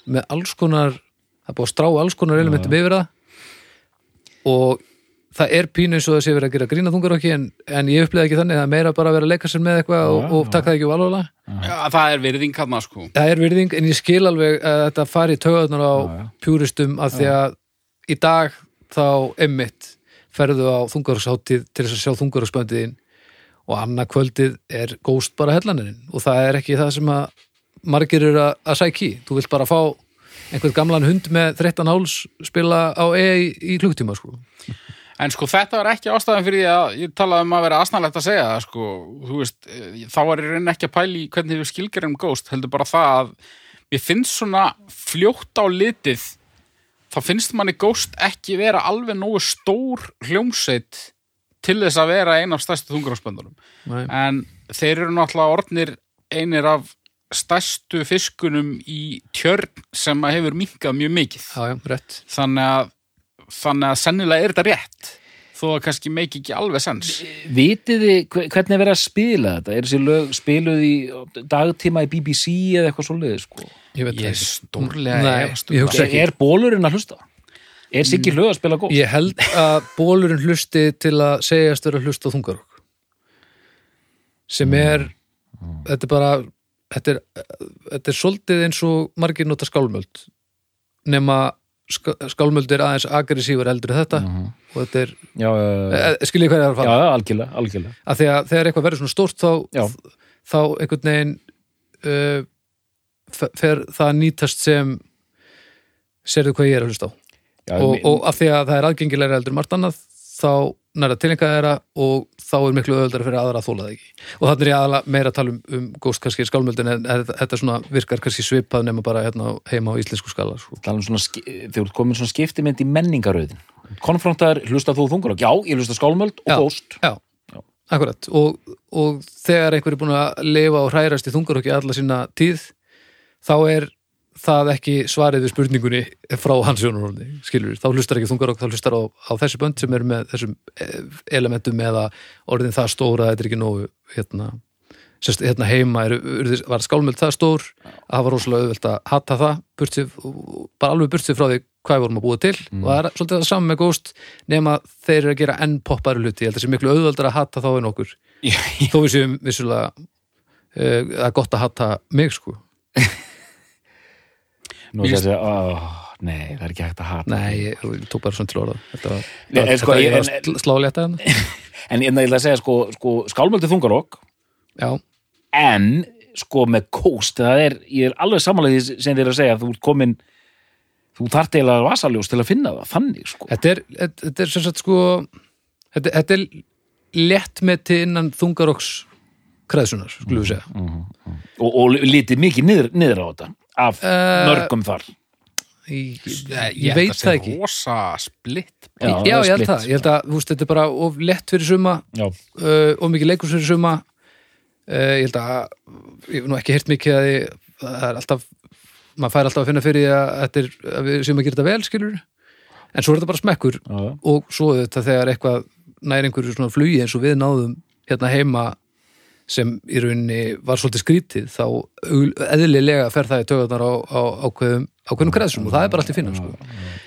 með alls konar það er búið að strá alls konar elementum yfir það og það er pínu eins og það sé verið að gera grína þungarokki en, en ég upplega ekki þannig það er meira bara að vera að leika sér með eitthvað og, og taka það ekki valóðlega
Já, það er virðing hann sko
það er virðing en ég skil alveg að þetta fari í taugarnar á pjúristum af því að í dag þá emmitt ferðu á þungarhúsháttið til þess að sjá þungarhúsböndiðin og annað kvöldið er góst bara hellanirinn og það er ekki það sem að margir eru að, að sæki í. þú vilt bara fá einhvern gamlan hund með 13 háls spila á EA í, í klukkutíma sko.
En sko þetta var ekki ástæðan fyrir því að ég talaði um að vera asnalegt að segja það sko, þú veist, eh, þá var ég reyna ekki að pæla í hvernig við skilgerum Ghost, heldur bara það að mér finnst svona fljótt á litið, þá finnst manni Ghost ekki vera alveg nógu stór hljómsveit til þess að vera ein af stærstu þungrafspöndunum.
Nei.
En þeir eru náttúrulega orðnir einir af stærstu fiskunum í tjörn sem að hefur minkað mjög mikið
Já, já, rétt
þannig að þannig að sennilega er þetta rétt þó að kannski meiki ekki alveg sens
Vitið þið hve- hvernig er verið að spila þetta? Er þessi lög spiluð í dagtíma í BBC eða eitthvað svoleiðið sko?
Ég veit
ég
það
er
ekki.
stórlega
Nei,
efast um
ég
það.
hugsa
Er,
ekki
er bólurinn að hlusta? Er Siggi lög að spila góð?
Ég held að bólurinn hlusti til að segjast vera að hlusta á þungarokk sem
Mm.
er þetta er bara þetta er, þetta er svolítið eins og margir nota skálmöld nema ska- skálmöld er aðeins agressífur heldur en þetta og þetta er,
Já, já, já,
eh, skiljið hvað ég er að
Mhm. já,
fara
já, algjörlega, algjörlega.
að þegar, þegar eitthvað verður svona stórt þá,
Já.
þá einhvern veginn uh, f- fer það að nýtast sem serðu hvað ég er að hlusta á
Já,
og,
mi-
og af því að það er aðgengilega heldur en margt annað þá nærða tilenga þeirra og þá er miklu öðuldar fyrir aðra að þóla það ekki og þannig er ég aðalega meira að tala um, um góst kannski skálmöldin en þetta, þetta svona virkar kannski svipað nema bara hérna á- heima á íslensku skala sko.
tala um svona, ski- þegar þú ert komin svona skiptimynd í menningaröðin konfrontar, hlusta þú þungur já, ég hlusta skálmöld og
Já.
góst
Já, akkurat og, og þegar einhver er búin að lifa og hrærast í þungarokki alla sína tíð þá er það ekki svarið við spurningunni frá hans sjónarhóndi, skilur þá hlustar ekki þungarokk, þá hlustar á, á þessi bönd sem eru með þessum eh, elementum eða orðin það stóra, þetta er ekki nógu hérna, sérst, hérna heima er, var skálmöld það stór að það var rosalega auðvelt að hata það burtsif, bara alveg burtsif frá því hvað við vorum að búa til
Mm.
og það er svolítið það saman með góst nema þeir eru að gera enn poppari hluti ég held að það sé miklu auðveldar að hata þá en okkur þó við séum vissulega eh, það er gott að hata mig sko
nú er það að segja, oh, nei, það er ekki hægt að hata
nei, ég, ég tók bara svona til orða þetta var,
Nei, en sko,
þetta,
ég-
ég var
en-
að sl- slá létta hérna
en en ég ætla að segja, sko, sko skálmöld er þungarokk
já,
en, sko, með góst það er, ég er alveg samanlega því sem þið er að segja þú ert komin, þú þart eiginlega vasaljós til að finna það, þannig, sko
þetta er, þetta, þetta er sem sagt sko þetta, þetta er létt með til innan þungarokks kreðsunar, skulum við segja
Mm, og, og litið mikið niður, niður á þetta af mörgum þar
ég, ég,
Eh,
ég veit það ekki
Ég held að sé rosa splitt
já, já,
það er
ég held
splitt,
það, ég held að þú veist, þetta er bara of lett fyrir suma
já,
uh, of mikið leikurs fyrir suma uh, ég held að ég hef nú ekki heyrt mikið að ég, það er alltaf maður fær alltaf að finna fyrir því að, þetta er, að við séum að gera þetta vel skilur en svo er þetta bara smekkur
já, já.
og svo þetta þegar eitthvað nær einhverju svona flugi eins og við náðum hérna heima sem í rauninni var svolítið skrítið þá augl- eðlilega fer það í tögarnar á, á, ákveðum, ákveðum kreðsum og það er bara allt í finna sko.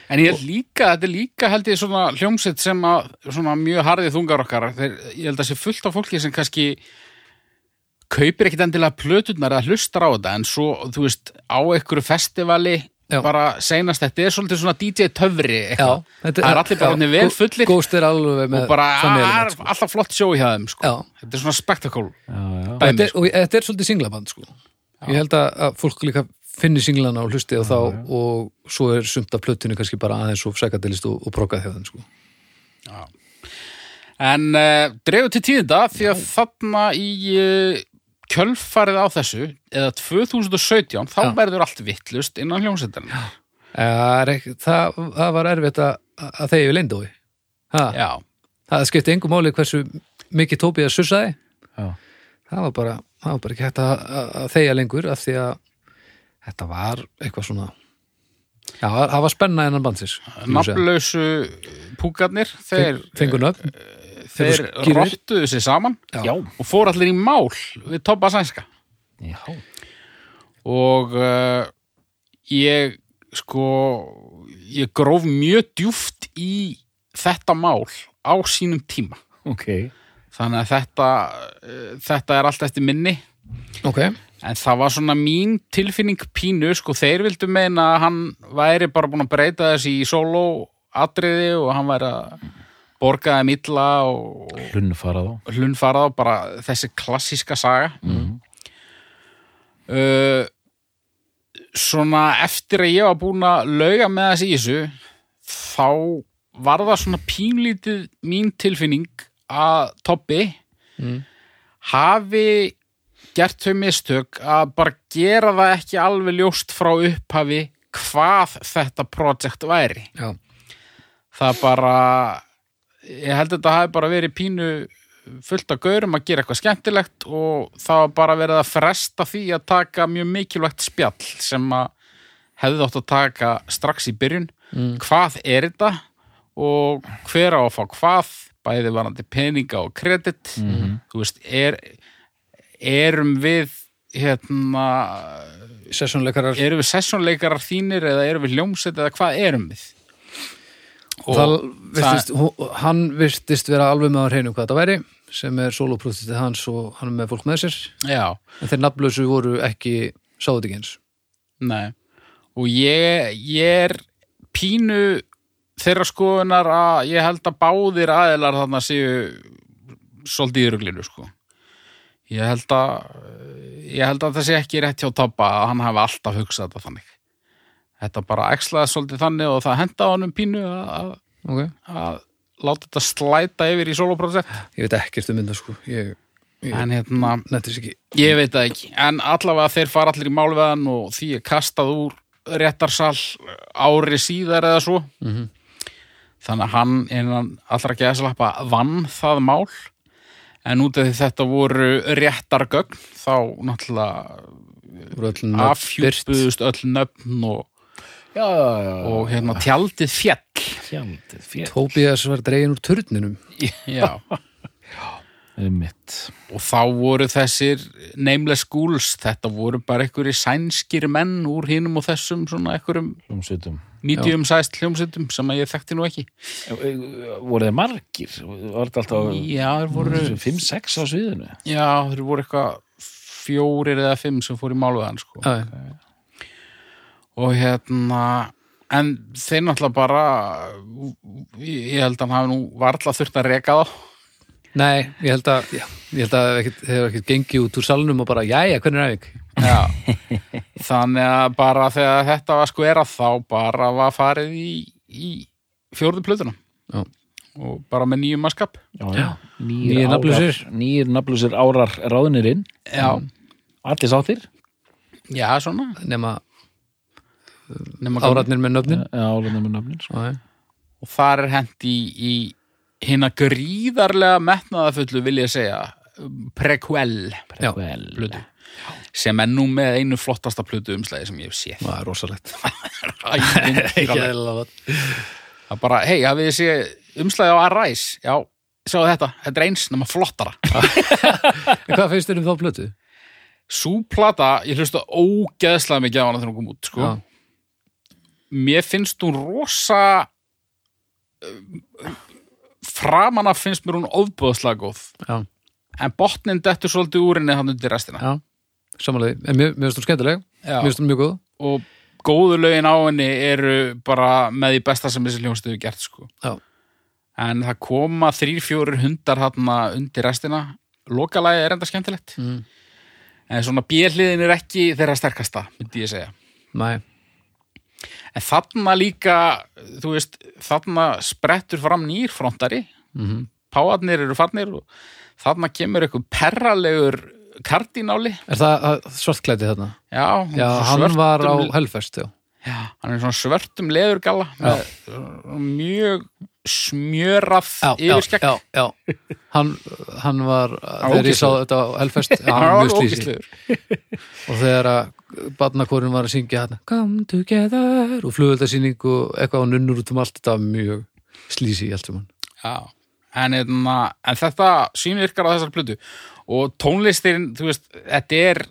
En ég held líka, þetta er líka held ég svona hljómsett sem að svona mjög harðið þungar okkar Þeir, ég held að sé fullt af fólki sem kannski kaupir ekkit endilega plöturnar eða hlustar á þetta en svo, þú veist, á einhverju festivali
Já.
bara seinast þetta er svolítið svona DJ töfri
Já,
eitthvað. það er allir bara orðnir vel fullir
Góst er alveg með
og bara
þannig
"Ah,
element,
er alltaf flott sjó í þeim sko.
sko." Já.
þetta er svona spektakól
já, já.
Þetta
dæmi,
er,
sko.
og þetta er svolítið singlaband sko. ég held að, að fólk líka finnir singlana og hlusti á þá og svo er sumt af plötinu kannski bara aðeins og sækadilist og, og prókað hjá þeim sko.
En uh, dregur til tíðinda því að þarna í uh, kjölfarið á þessu eða 2017, þá
Já.
verður allt vittlust innan hljómsveitarinn. Já.
það, er ekki- það, það var erfitt að, að þegar við leyndói það, það skipti engum máli hversu mikið tópið að sussaði
Já.
það var bara, það var bara ekki hægt að, að, að þegar lengur af því að þetta var eitthvað svona já, það var- það var spenna innan bandsins
Nafnlausu eh, púkarnir, þeir, eh,
fengur nöfn
þeir
þeir skýrir.
rottuðu sig saman
já,
og fór allir í mál við Tobba Sænska.
já.
og uh, ég sko ég gróf mjög djúft í þetta mál á sínum tíma
ok
þannig að þetta, uh, þetta er allt eftir minni
ok,
En það var svona mín tilfinning pínu, sko, þeir vildu meina að hann væri bara búin að breyta þessi í sóló atriði og hann væri að borgaði milla og
Hlunnfara þá.
hlunfarað og bara þessi klassíska saga
Mhm.
uh, svona eftir að ég var búin að lauga með þessi í þessu þá var það svona pínlítið mín tilfinning að Tobbi
Mm.
hafi gert þau mistök að bara gera það ekki alveg ljóst frá upphafi hvað þetta projekt væri
já,
það bara ég held að þetta hafi bara verið pínu fullt af gaurum að gera eitthvað skemmtilegt og það var bara verið að fresta því að taka mjög mikilvægt spjall sem að hefði átt að taka strax í byrjun hvað er þetta og hver á að fá hvað bæði varandi peninga og kredit þú veist, er erum við hérna
sessónleikarar
erum við sessónleikarar þínir eða erum við hljómsett eða hvað erum við og
það virtist, hú- hann virtist vera alveg með að hreinu hvað þetta væri sem er soloprotistið hans og hann er með fólk með sér
já,
en þeir nafnlausu voru ekki sáðu ekki eins
nei og ég, ég er pínu þeirra skoðunar að ég held að báðir aðilar þarna séu svolítið í ruglinu sko ég held að ég held að það sé ekki rétt hjá Tobba að hann hafi alltaf hugsað þetta þannig þetta bara ekslaði svolítið þannig og það henda honum pínu að,
okay.
að láta þetta slæta yfir í soloprosent
ég veit ekkert um þetta sko ég, ég
en hérna
nettis ekki
Ég veit það ekki, en allavega þeir fara allir í málveðan og því er kastað úr réttarsal ári síðar eða svo
Mhm.
þannig að hann innan allra geðslappa vann það mál en út af því þetta voru réttargögn þá náttúrulega
voru öll nöfn birt.
afhjúpuðust öll nöfn og,
Já, já, já.
og hérna tjaldið fjall
Hjaldið, fjall.
Tóbías var dregin úr turninum
Já.
Mitt.
og þá voru þessir nameless ghouls, þetta voru bara einhverjir sænskir menn úr hinum og þessum svona einhverjum
Hljómsveitum. Eh,
medium sized hljómsveitum sem að ég þekkti nú ekki
Voru þeir margir? Var þetta alltaf
já, þeir voru,
5-6 á sviðinu?
já, þeir voru eitthvað fjórir eða fimm sem fór í málveðan sko.
Já,
og hérna en þeir náttúrulega bara ég ég held að hann hafi nú varla þurft að reka þá
Nei, ég held að, já, ég held að það ekkert- þeir hefur ekkert gengið út úr salnum og bara, jæja, hvernig er æfing?
já. þannig að bara þegar þetta var sko era þá bara var farið í, í fjórðu plötuna
Já.
og bara með nýjum maskap
Já,
Já.
Nýjir,
Nýir nafnlausir.
árar- Nýjir nafnlausir árar ráðnir inn.
já,
Allir sáttir.
já svona
Nema
nema gamli.
áratnir með nöfnin
Já, álarnir með nafnin. Sko.
Já, já.
og þar er hent í, í hérna gríðarlega metnaðafullu vil ég segja prequel
Já.
Vel.
plötu sem er nú með einu flottasta plötu umslæði sem ég hef séð
Það er rosalegt Ekki
það
eðlilega gott.
er bara, hei, hafið þið séð umslæði á Arise já, sjáðu þetta, þetta er eins nema flottara
En Hvað finnst þér um þá plötu?
Sú plata, ég hlusta ógeðslega mikið á hana þegar hún kom út, sko.
Já.
Mér finnst hún rosa... Framana finnst mér hún ofbúðslega góð.
Já.
En botnin dettur svolítið úr henni hann undir restina.
Já, samanlega, en mér, mér finnst hún skemmtileg
Já.
Mér finnst hún mjög góð
Og góðu lögin á henni eru bara með því besta sem þessi hljómsið hefur gert, sko.
Já,
En það koma þrír, fjórir hundar hann undir restina. Lokalagi er enda skemmtilegt.
Mm.
En svona bjöliðin er ekki þeirra sterkasta, myndi ég segja.
næ,
En þarna líka, þú veist, þarna sprettur fram nýr frontari, mm
Mhm.
-hmm. páarnir eru farnir og þarna kemur eitthvað perralegur kardínáli.
er það það- svartklæti þarna?
Já,
Já, hann var á Hellfest, já
já, hann er svona svörtum leðurgalla með mjög smjörað yfirskekk.
já, já Hann, hann var,
var
þegar ég sá
ógeðslegur.
þetta á Hellfest já, hann
Hann
var
var
mjög slísi
ógislegur.
og þegar að barnakorinn var að syngja hann Come Together og flugöldasýning og eitthvað á nunnur út um allt þetta var mjög slísi í allt sem hann
Já, en, hérna, en þetta sýnvirkar á þessar plötu og tónlistin, þú veist, þetta er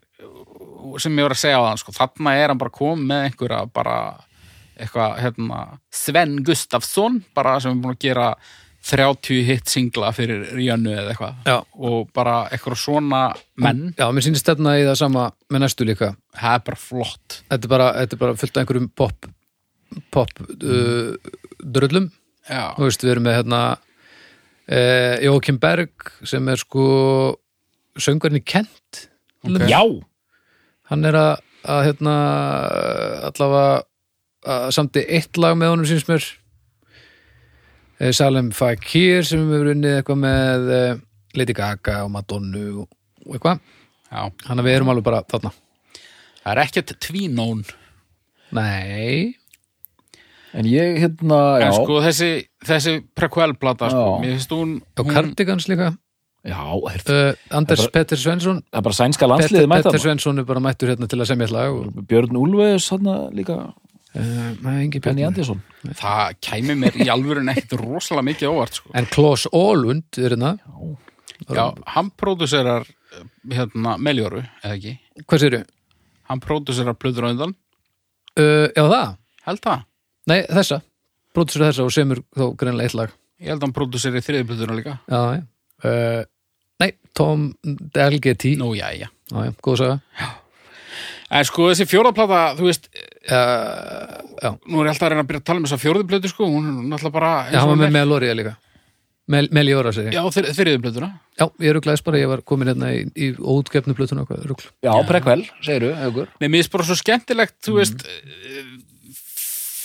sem ég voru að segja á þann sko, þarna er hann bara kom með einhverja bara eitthvað, hérna Sven Gustafsson, bara sem er búin að gera 30 hit singla fyrir Ríanu eða eitthvað
Já.
og bara eitthvað svona menn,
Já, mér sýnist stefna í það sama með næstu líka
það er bara flott
Þetta er bara, þetta er bara fullt af einhverjum pop pop uh, dröllum
Já,
Þú veist, við erum með hérna eh, Jókim Berg sem er sko söngurinn í Kent
Ok.
Já,
hann er að, að hérna, allavega að samti eitt lag með honum síns mér Eh, Salem Fakir sem hefur unnið eitthvað með eh, Lady Gaga og Madonna og og eitthvað,
Já.
hann að við erum alveg bara þarna
Það er ekkert tvínón.
Nei,
en ég hérna, já,
En sko þessi, þessi prequel-plata, sko,
Já.
mér finnst hún...
og
hún-
Cardigans líka
já, er,
uh, Anders
Það er
Petter Svensson
það er bara sænska
Petter,
landsliðið mæta
Petter Svensson er bara mættur hérna til að semja slag og,
Björn Úlfeus hann líka,
uh, nei, engin Björn.
Benny Andersson
Það kæmi mér í alvöru ekkert rosalega mikið óvart, sko.
En Klaus Ólund er hérna
Já, hann pródúserar eh, hérna, Meljóru, eða ekki?
Hvað sér þau?
Hann pródúserar Plöður á undan,
Uh, já það,
held það?
nei þessa Brótusur þessa og semur þó greinlega eitt lag
Ég held að hann pródúserir þriði plöðuna líka.
Já, já uh, Nei, Tom LGT
Nú, já, já.
Já, já, góð saga
En sko þessi fjóraplata, þú veist, eh,
uh, Já,
nú er ég alltaf að reyna að byrja að tala um þessa fjórðu plötu, sko, hún er náttúrulega bara... eins
já
og
hann var með
hún er.
Meloria líka Mel, Meliora sér ég
Já, þri- þriðju plötuna.
Já, ég rugglaðis bara, ég var komin hérna í, í óutgefnu plötun og hvað, ruggl
Já, prekvel, segiru, haugur
Nei, mér finnst bara svo skemmtilegt, þú veist, eh,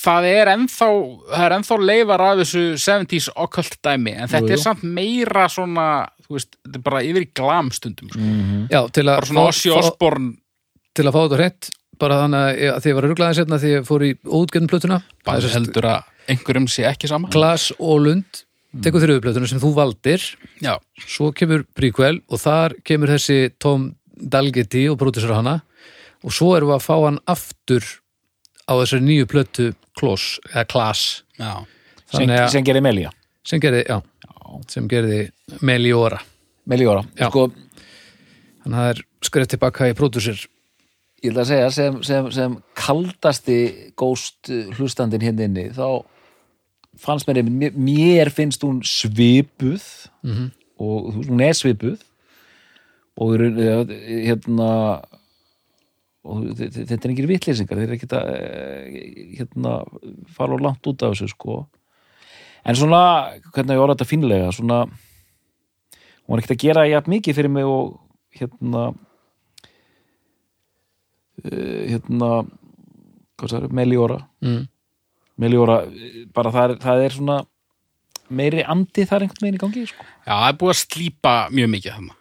það er ennþá, það er ennþá leifar af þessu 70s occult dæmi, en þetta
Jú,
er
jú.
samt meira svona, þú veist, þetta er bara yfir í glam stundum, sko.
Mm.
Já, til að,
Bara svona Ossi
fá, fá,
Osborn,
til að fá þetta hreint bara þannig að ég, að því ég var rugglaðis hérna því ég fór í óutgefnu plötuna
bara hérna. heldur að einhverjum sé ekki sama.
Glas og Lund
Mm.
tekur þriðu plötuna sem þú valdir
Já,
svo kemur prequel og þar kemur þessi Tom Dalgeti og pródusur hana og svo erum við að fá hann aftur á þessari nýju plötu Kloss, eða Klass
já.
sem,
Þannig að-
sem gerir Melja
sem gerði, já, sem gerði Meliora,
Meliora,
Já.
sko,
þannig að það er skreitt tilbaka í pródusur
ég ætla að segja sem, sem, sem kaldasti góst hlustandinn hinn inni þá fannst mér einmitt- mér, mér finnst hún svipuð -hmm. og þú veist, hún er svipuð og í raun- eh, hérna og þe- þe- þetta er engir vitlýsingar þeir eru ekkert að eh, hérna, fara og langt út af þessu sko en svona, hvernig á ég orða þetta fínlega svona hún var ekkert að gera jafn mikið fyrir mig og hérna hérna hvað það er, Meliora
mm.
Meliora, eh, bara það er, það er svona meiri andi þar einhvern veginn í gangi sko.
Já, það er búið að slípa mjög mikið þannig.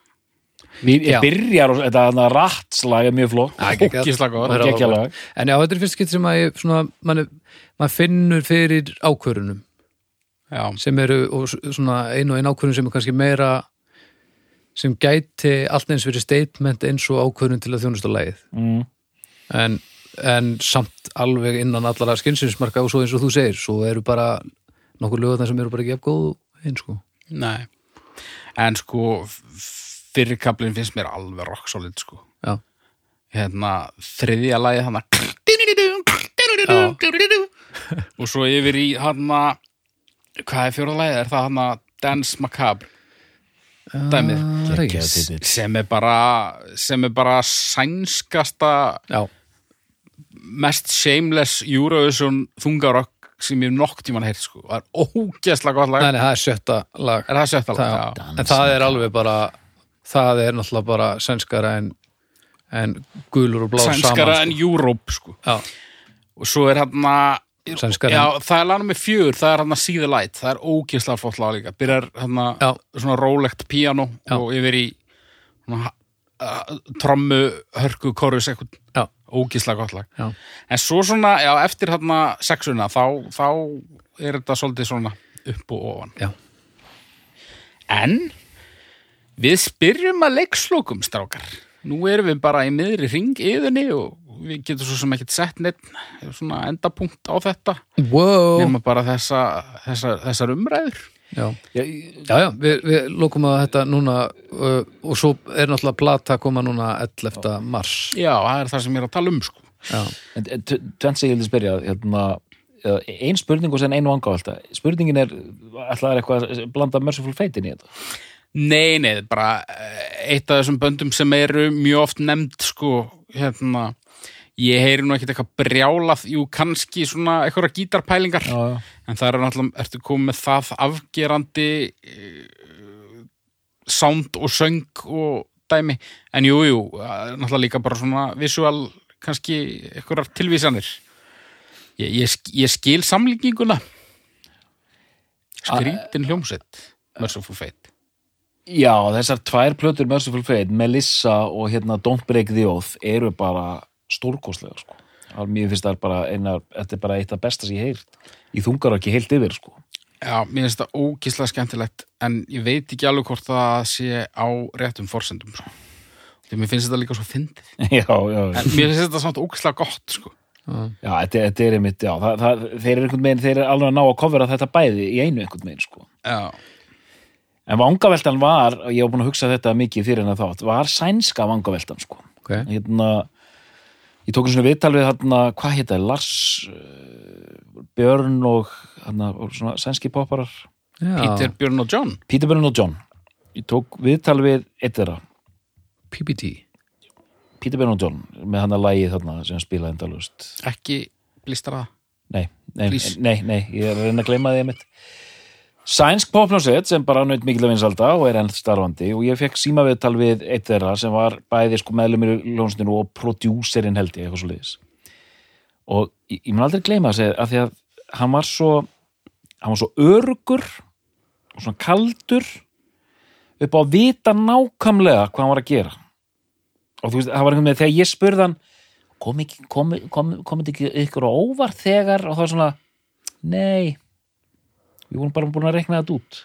Við
Já.
byrjar og þetta þarna rattslag er mjög flott
Já, geggjað.
Ógeðslega góð.
Það er
Geggjað lag.
áhugavert. En já, þetta er fyrst skitt sem að ég, svona, mann, mann finnur fyrir ákvörunum
Já,
sem eru og s- svona ein og ein ákvörun sem er kannski meira sem gæti allt eins verið statement eins og ákvörun til að þjónusta lagið
mm.
en, en samt alveg innan allara skynsins og svo eins og þú segir, svo eru bara nokkur lögðar sem eru bara ekki efgóð eins sko.
nei. En sko, fyrirkablin finnst mér alveg rock solid, sko.
Já.
Hérna, þriðja lagið hann að... Og svo yfir í hann að... Hvað er fjóra lagið? Er það hann að Dance Macabre? Dæmið.
Ah,
Geggjað
reis.
titill.
Sem er bara, sem er bara sænskasta
Já,
mest shameless Eurovision þungarokk sem ég hef nokk tíman heilt sko. Það er ógeðslega gott lag.
Nei, nei, það er sjötta lag
Er það sjötta lag?
það,
Já.
En það er alveg bara það er náttúrulega bara sænskara en, en gulur og blá
Sænskara en
saman
Europe sko.
Já,
Og svo er hann að
Sænskara en-
Já, það er lagnum með fjör, það er hann að See the Light það er ógeðslega flott lag líka byrjar hann
Já.
svona rólegt piano
Já.
og yfir í svona, uh, trommu, hörku, korus eitthvað
já,
ógeðslega gott lag
já
en svo svona, já, eftir hann sexuna þá, þá er þetta svolítið svona upp og ofan
Já,
En við spyrjum að leikslokum, strákar. Nú erum við bara í miðri ring yðurni og við getum svo sem ekkert sett neitt svona endapunkt á þetta.
wow.
Nefna bara þessa, þessa, þessar umræður.
já.
Já, ég-
já, já, við, við lókum að þetta núna uh, og svo er náttúrulega plata að koma núna 11. mars
Já, það er það sem ég er að tala um, sko.
Já,
en en t- tvennt sem ég vildi spyrja hérna, eða ein spurning og sen einu anga spurningin er, ætlaði er eitthvað að blanda Merciful Fate inn í þetta
Nei, nei, bara eh, eitt af þessum böndum sem eru mjög oft nefnd, sko, hérna, ég heyri nú ekkert eitthvað brjálað, jú, kannski svona eitthvað gítarpælingar.
já, já.
En það er náttúrulega, ertu komið með það afgerandi eh, sound og söng og dæmi en jú, jú, að- náttúrulega líka bara svona visual, kannski einhverjar tilvísanir ég, ég, sk- ég skil samlíkinguna skrítin hljómsveit Merciful Fate
Já, þessar tvær plötur Merciful Fate, Melissa og hérna Don't Break the Oath eru bara stórkostlega, sko. Það er mjög finnst það er bara eina, þetta er bara eitt af besta sem ég heyrt. Ég þungar ekki heilt yfir, sko.
Já, mér finnst það ógislega skemmtilegt en ég veit ekki alveg hvort það sé á réttum forsendum sko. því mér finnst þetta líka svo fyndið
já, já, já.
en mér finnst þetta samt ógislega gott sko.
Já, þetta, þetta er einmitt, já, það, það, þeir eru einhvern veginn, þeir eru alveg að ná að kofra þetta bæði í einu einhvern veginn, sko.
Já,
En vangaveltan var, og ég var búin að hugsa þetta mikið fyrir hennar þátt, var sænska vangaveltan, sko.
Ok.
Hérna, ég tók svona viðtal við hérna, hvað hétta, Lars uh, Björn og hérna, og svona sænski popparar,
Já,
Peter, Björn og John
Peter Björn og John. Ég tók viðtal við eitt þeirra,
PPT
Peter Björn og John, með hann að lagið þarna sem hann spilaði endalust.
ekki blístra það
Nei, nei,
Please.
nei, nei, ég er að reyna að gleyma því einmitt. Sænsk popnásett sem bara naut mikil af vinsalda og er enn starfandi og ég fekk símaviðtal við eitt þeirra sem var bæði sko meðlumir ljónsninu og prodúserinn held ég eitthvað svo liðis. Og ég, ég mun aldrei gleyma þessi að því að hann var svo hann var svo örugur og svona kaldur upp á að vita nákvæmlega hvað hann var að gera. Og þú veist, það var einhvern veginn þegar ég spurði hann kom ekki, kom, kom, kom þetta ekki ykkur á óvart þegar og það var svona nei við vorum bara búin að rekna þetta út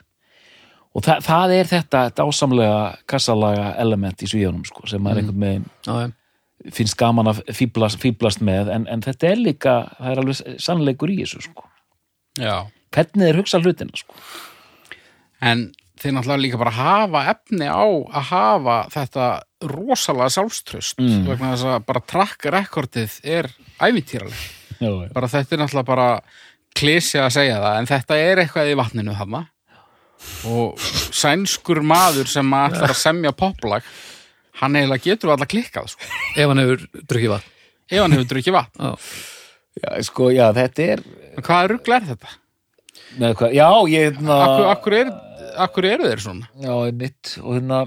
og það, það er þetta, þetta ásamlega kassalaga element í svíðunum sko, sem maður einhvern veginn
Já, já.
finnst gaman að fýblast, fýblast með en, en þetta er líka, það er alveg sannleikur í þessu sko.
Já.
hvernig þeir hugsa hlutina sko.
en þeir náttúrulega líka bara hafa efni á að hafa þetta rosalega sjálfströst vegna þess að bara track rekordið er ævintýraleg
já,
bara þetta er náttúrulega bara klísi að segja það, en þetta er eitthvað í vatninu þarna og sænskur maður sem að ætlar að semja poplag hann eiginlega getur alltaf klikkað sko.
Ef hann hefur drukkið vatn
ef hann hefur drukkið vatn
Já,
já, sko, já þetta er
en hvaða rugl er þetta?
Nei, hvað, já, ég hérna- na,
Akkur, akkur, er, akkur eru þeir svona?
Já, einmitt og hérna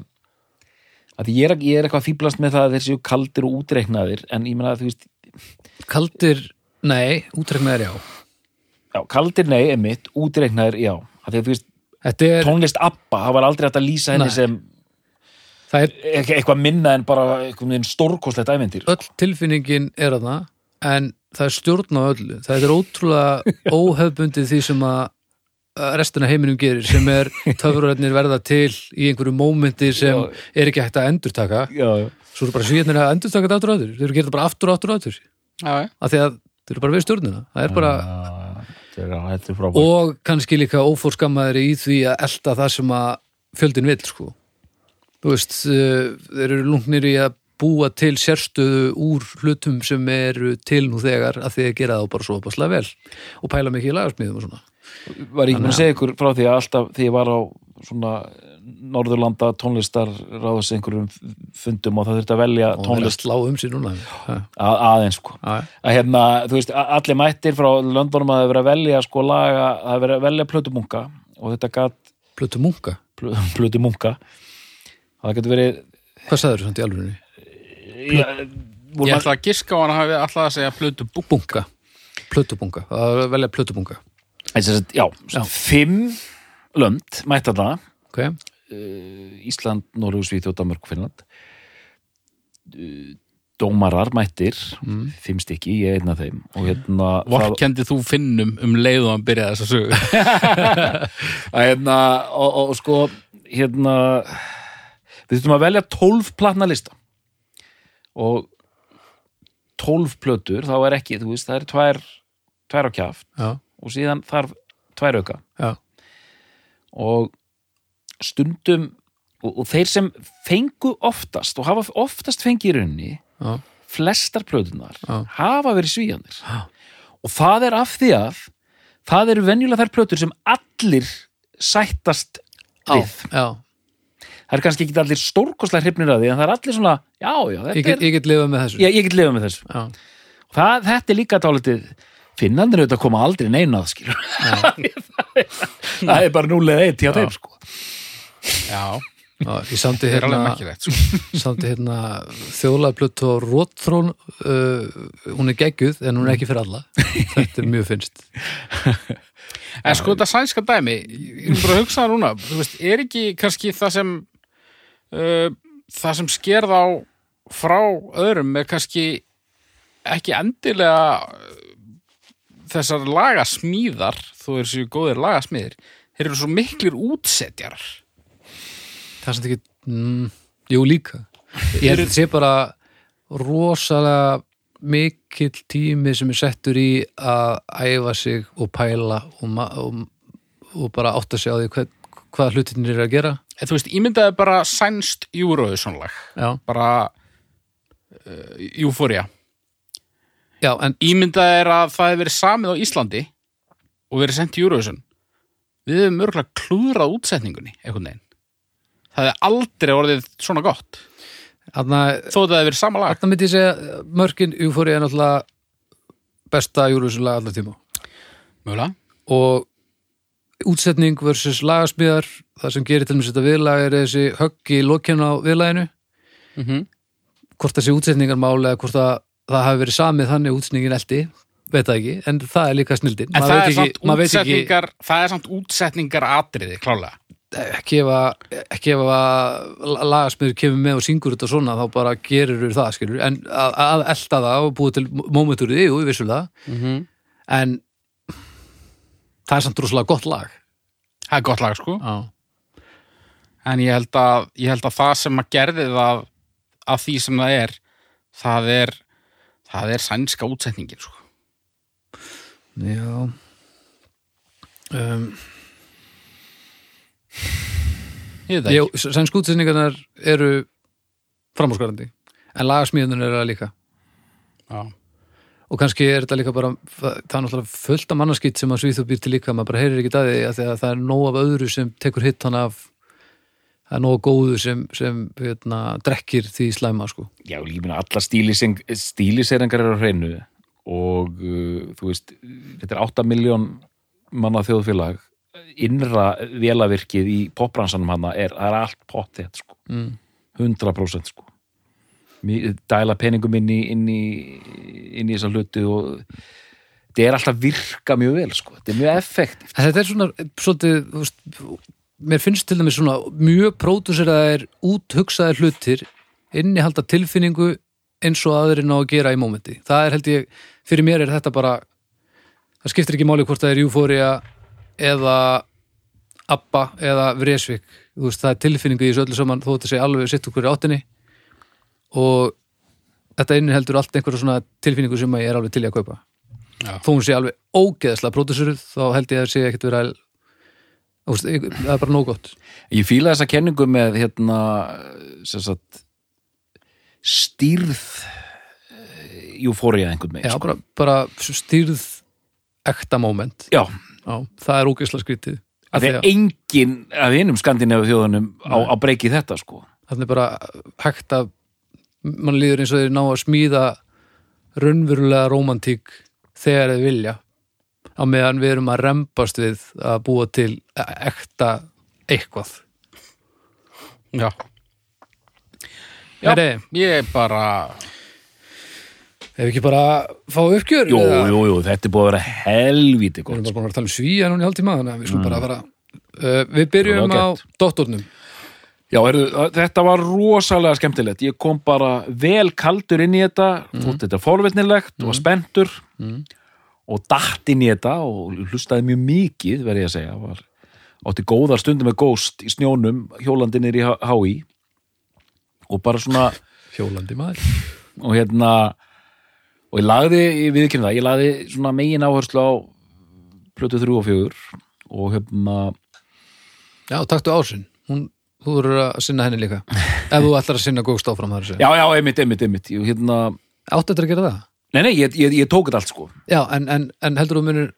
að því ég er, ég er eitthvað fýblast með það að þeir séu kaldir og útreiknaðir en ég meina að þú veist,
kaldir, nei, útreknaðir já
já, kaldir nei, einmitt útreiknaðir, já, að því að þú veist
Þetta er,
tónlist Abba, það var aldrei hægt að lýsa henni
Nei.
sem
það er
e- eitthvað minna en bara einhvern veginn stórkostlegt ævendir
öll tilfinningin er að það en það er stjórn á öllu það er ótrúlega óhefbundið því sem að að restina heiminum gerir sem er töfraröðnir verða til í einhverju mómenti sem er ekki hægt að endurtaka
Já, já,
svo eru bara svíðnir að endurtaka þetta aftur og aftur þeir eru að gera þetta bara aftur og aftur og aftur
Já, já.
af því að þeir eru bara við stjórnina það er bara,
þetta er, þetta er frábært
og kannski líka ófórskammaður í því að elta það sem að fjöldin vill sko þú veist, eh, þeir eru lungnir í að búa til sérstöðu úr hlutum sem eru til nú þegar að þeir gera það bara svo opaslega vel og pæla mikið í lagarsmiðum og svona
var ég ekki búin að segja ykkur frá því að alltaf því ég var á svona Norðurlanda tónlistar ráðs einhverjum fundum og það þurfti að velja
og það er að
tónlist
slá um sér núna Ha,
að, aðeins sko
Já, já.
að hérna, þú veist, a- allir mættir frá löndunum að það er verið að velja sko laga það er verið að velja plötumunka og þetta gat
plötu munka,
plö, plötumunka það getur verið
hvað sagður samt í alvörunni?
ja,
Ég
voru
ætla að giska á hann að hafi alltaf að segja plötu bú.
Bunga, plötu bunga það er að velja plötu bunga
maður- sem sagt, já, já, fimm lönd mætt þarna
okay.
Ísland, Norrug, Svíþjóð, Danmörk, Finnland Uh, dómarar mættir fimm stykki, ég er einn af þeim og hérna, það,
Vorkendi þú finnum um leið og hann byrjaði þess að sögu.
að hérna og, og, og sko hérna við þurfum að velja 12 platna lista og 12 plötur þá er ekki, þú veist, það er tvær tvær á kjaft
já,
og síðan þarf tvær auka
já,
og stundum og, og þeir sem fengu oftast og hafa oftast fengið í rauninni
já,
flestar plötunar
Já.
hafa verið svíjanir og það er af því að það eru venjulega þær plötur sem allir sættast
já,
við
já.
það er kannski ekki allir stórkostlega hrifnir að því en það er allir svona, já, já, þetta
Ég, get,
er
ég get lifað með þessu
ég, ég get lifað með þessu
Já.
það, þetta er líka dálítið finnandir auðvitað koma aldrei neinað skilur það er bara núlega eitt hjá þeim sko.
Já,
Já, ég samdi
er alveg
hérna,
merkilegt sko.
samdi hérna þjóðlega plutt og róttrón uh, hún er gegguð en hún er ekki fyrir alla þetta er mjög finnst
En sko þetta sænska dæmi, ég er bara að hugsa það núna, þú veist, er ekki kannski það sem uh, það sem sker þá frá öðrum er kannski ekki endilega uh, þessar lagasmíðar, þú er sér góðir lagasmíðir, þeir eru svo miklir útsetjarar.
það er samt ekki, mm, jú líka ég held að þetta sé bara rosalega mikill tími sem er settur í að æfa sig og pæla og, ma- og, og bara átta sig á því hvað, hvað hlutinir eru að gera
En þú veist, ímyndaði bara sænst júróðusónlag,
já,
bara uh, júfória.
já en
Ímyndað er að það hefur verið samið á Íslandi og verið sendt í Eurovision. Við hefum örgulega klúðrað útsetningunni, einhvern veginn. Það hefði aldrei orðið svona gott.
þarna
Þó það hefði verið sama lag.
Þarna myndi ég segja mörkin Euphoria er náttúrulega besta júlusunlega allar tíma
Mögulega.
og útsetning versus lagasmíðar það sem gerir til mér þetta viðlag er þessi högg í lokinu á viðlaginu
Mm -hmm.
hvort þessi útsetningarmál eða hvort að það hafi verið samið þannig að útsetningin eldi veit það ekki, en það er líka snildin
En það er, samt
maður veit ekki,
útsetningar, það er samt útsetningar atriði, klálega.
ekki ef að, ekki ef að lagasmíður kemur með og syngur þetta svona þá bara gerir það skilur en að, að elda það og búið til momentur í, jú, við vissum það
Mm -hmm.
en það er samt rosalega gott lag
Það er gott lag, sko.
já,
En ég held að, ég held að það sem að gerði það að því sem það er, það er, það er sænska útsetningin, sko.
já. Um,
Ég veit það
ég,
ekki.
sænsk útsetningarnar eru framhúsgarandi en lagasmíðunar eru það líka
Já.
og kannski er þetta líka bara það er náttúrulega fullt af mannarskitt sem að svíþu býr til líka maður bara heyrir ekki að því að því að það er nóg af öðru sem tekur hitt hann af það er nóg af góðu sem, sem hérna, drekkir því slæma sko.
Já, ég meina allar stíliseng, stíliseringar eru á hreinu og uh, þú veist, þetta er 8 miljón manna þjóðfélag innra vélavirkið í popbransanum hana er, það er allt pott þetta sko,
mm.
100% sko Mér- dæla peningum inn í, inn í, inn í þessa hluti og þetta er alltaf virka mjög vel sko, þetta er mjög effektivt
En þetta er svona, svolítið, þú veist, mér finnst til dæmis svona mjög próduseraðir, úthugsaðir hlutir innihalda tilfinningu eins og aðrir ná að gera í mómenti. Það er held ég, fyrir mér er þetta bara, það skiptir ekki máli hvort það er Euphoria eða Abba eða Vresvik. Þú veist, það er tilfinningu í þessu öllu saman, þó þetta sé alveg sitt okkur í áttinni og þetta inniheldur allt einhverja svona tilfinningu sem að ég er alveg til í að kaupa
Já.
þó hún sé alveg ógeðslega pródussuruð þá held ég að sé ekkert vera Þú veist, ég- það er bara nóg gott
Ég fíla þessa kenningu með hérna sem sagt stýrð júfórið einhvern veginn
Já,
sko.
bara, bara stýrð ekta moment
Já,
Já, það er ógeðslega skrítið
að
Af
því
því
að enginn af einum skandináðu þjóðunum á, á breyki þetta sko
Þannig er bara hægt að mann líður eins og þeir ná að smíða raunverulega rómantík þegar þeir vilja á meðan við erum að rembast við að búa til e- ekta eitthvað
Já. Já.
Já. Heri,
Ég bara,
Ef ekki bara fá uppgjör
Jú,
eða-
jú, jú, þetta er búið að vera
Við
helvíti
erum bara
gott
búin að vera að tala um svíja núna í hálftíma þannig að við skulum bara að vera uh, Við byrjum á
Það var ágætt.
dotturnum
Já, er, þetta var rosalega skemmtilegt ég kom bara vel kaldur inn í þetta þótt þetta forvitnilegt og spenntur og datt inn í þetta og hlustaði mjög mikið verði ég að segja var, átti góðar stundum með góst í snjónum hjólandinir í HÍ og bara svona
Hjólandi maður
og hérna og ég lagði, ég viðkynna það, ég lagði svona megin áherslu á plötu 3 og 4 og hérna
Já, taktu ásinn Hún, Þú verður að sinna henni líka Ef þú ætlar að sinna góðst áfram þar
já, já, einmitt, einmitt, einmitt ég, hérna,
Áttu þetta að gera það?
nei, nei, ég, ég, ég tók þetta allt sko
Já, en, en, en heldur þú munir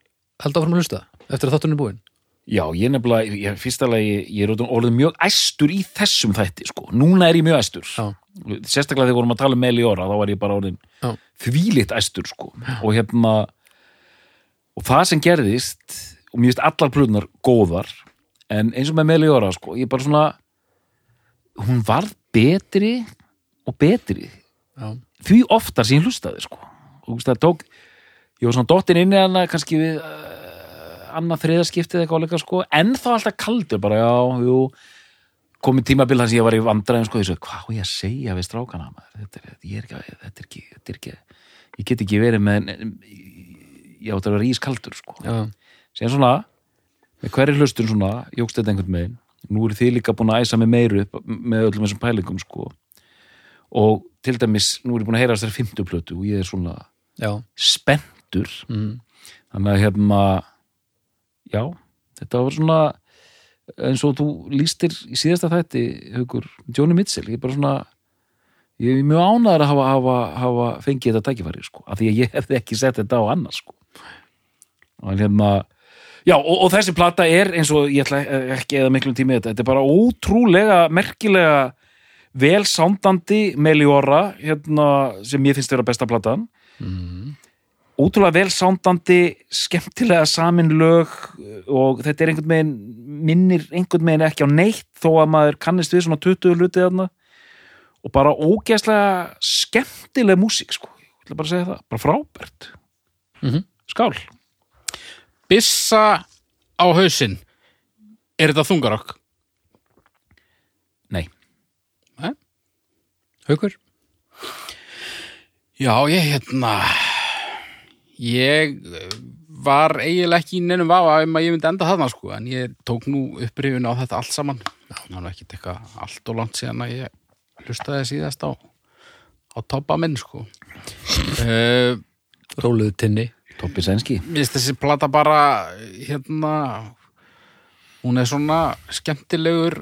held áfram að hlusta eftir að þátturinn er búinn
já, ég nefnilega, ég, fyrsta lagi ég er orðinn- orðinn mjög æstur í þessum þætti sko, núna er ég mjög æstur
Já.
sérstaklega þegar vorum að tala um Meliora þá var ég bara orðin
Já.
þvílitt æstur sko og hérna og það sem gerðist og mér finnst allar plöðunar góðar en eins og með Meliora sko, ég bara svona hún varð betri og betri
Já.
því oftar sem ég hlustaði sko. og það tók ég var svona dottin inn í hana kannski við uh, annað þriðaskiptið eitthvað áleika sko. en þá alltaf kaldur bara já, jú komið tímabil þar sem ég var í vandræðum sko, ég svo, hvað á ég að segja við strákana maður? þetta er, ég er ekki, þetta er ekki, þetta er ekki ég get ekki verið með ég átt að vera ískaldur sko.
Já.
síðan svona með hverri hlustun svona, jógst þetta einhvern veginn nú eru þið líka búin að æsa mig meiru upp með öllum þessum pælingum sko og til dæmis, nú er ég búin að heyra þessari fimmtu plötu og ég er svona
já,
spenntur
mm,
þannig að hérna já, þetta var svona eins og þú lístir í síðasta þætti, haukur, Johnny Mitchell ég er bara svona ég er mjög ánæður að hafa, hafa, hafa fengið þetta tækifæri sko, af því að ég hefði ekki sett þetta á annars sko og hérna já, og, og þessi plata er eins og ég ætla ekki eða miklum tími í þetta, þetta er bara ótrúlega merkilega vel sándandi Meliora hérna, sem ég finnst vera besta platan ótrúlega vel sándandi skemmtilega samin lög eh, og þetta er einhvern veginn minnir einhvern veginn ekki á neitt þó að maður kannist við svona 20 hluti þarna og bara ógeðslega skemmtileg músík sko, ég ætla bara að segja það bara frábært
Mhm.
skál,
Bissa á hausinn Er þetta þungarokk?
nei
haukur
Já, ég hérna Ég eh, var eiginlega ekki í neinum vafa um að ég myndi enda þarna sko en ég tók nú upprifun á þetta allt saman Það er nú ekkit eitthvað allt og langt síðan að ég hlustaði síðast á á toppa minn sko uh,
róluðu tinni
Toppi Sænski
Mér finnst þessi plata bara hérna hún er svona skemmtilegur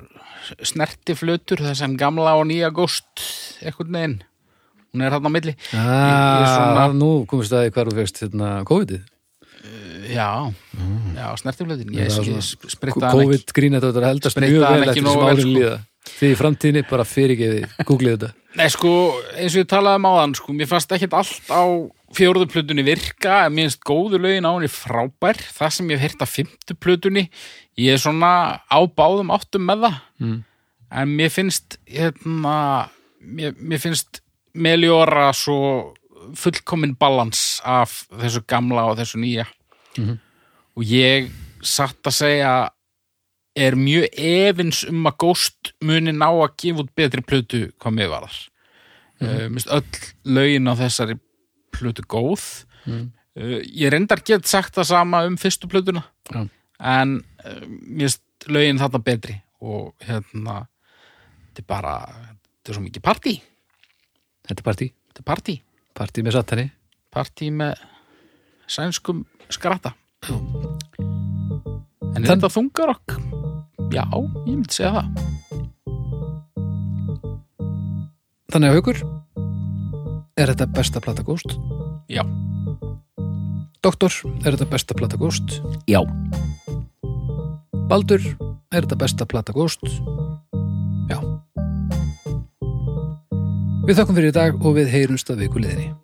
snertiflötur þessan gamla og nýja góst einhvern veginn hún er hann á milli ég
ah,
svona-
nú komist að því hvar þú fegst hérna, COVID-ið
já, já snertiflötin ég,
Það var
ég,
svona-
ég spritta hann ekki
COVID grínat þetta er að heldast
Spritta
mjög
hann
vel
ekki
eftir
nógu
sem
vel,
árið
sko.
líða þið í framtíðinni bara fyrirgeði googlið þetta
Nei, sko, eins og ég talaði um áðan sko, mér fannst ekkert allt á fjórðu plötunni virka, en mér finnst góðu lögin á henni frábær, það sem ég hef heyrt á fimmtu plötunni, ég er svona á báðum áttum með það mm. en mér finnst hérna, mér, mér finnst Meliora svo fullkomin balans af þessu gamla og þessu nýja og ég satt að segja er mjög efins um að Ghost muni ná að gefa út betri plötu hvað mig varðar
Mhm.
mm -hmm. öll lögin á þessari plötu góð
Mhm.
uh, ég reyndar get sagt það sama um fyrstu plötuna
Já.
en uh, mér finnst lögin þarna betri og hérna þetta er bara, þetta er svo mikið partí
þetta er partí,
þetta er partí,
partí með satani
partí með sænskum skratta en er
Þann-
þetta þungar okk já, ég myndi segja það
þannig að haukur er þetta besta plata góst?
Já.
Doktor, er þetta besta plata góst?
Já,
Baldur, er þetta besta plata góst? Já Við þakkum fyrir í dag og við heyrumst að viku liðinni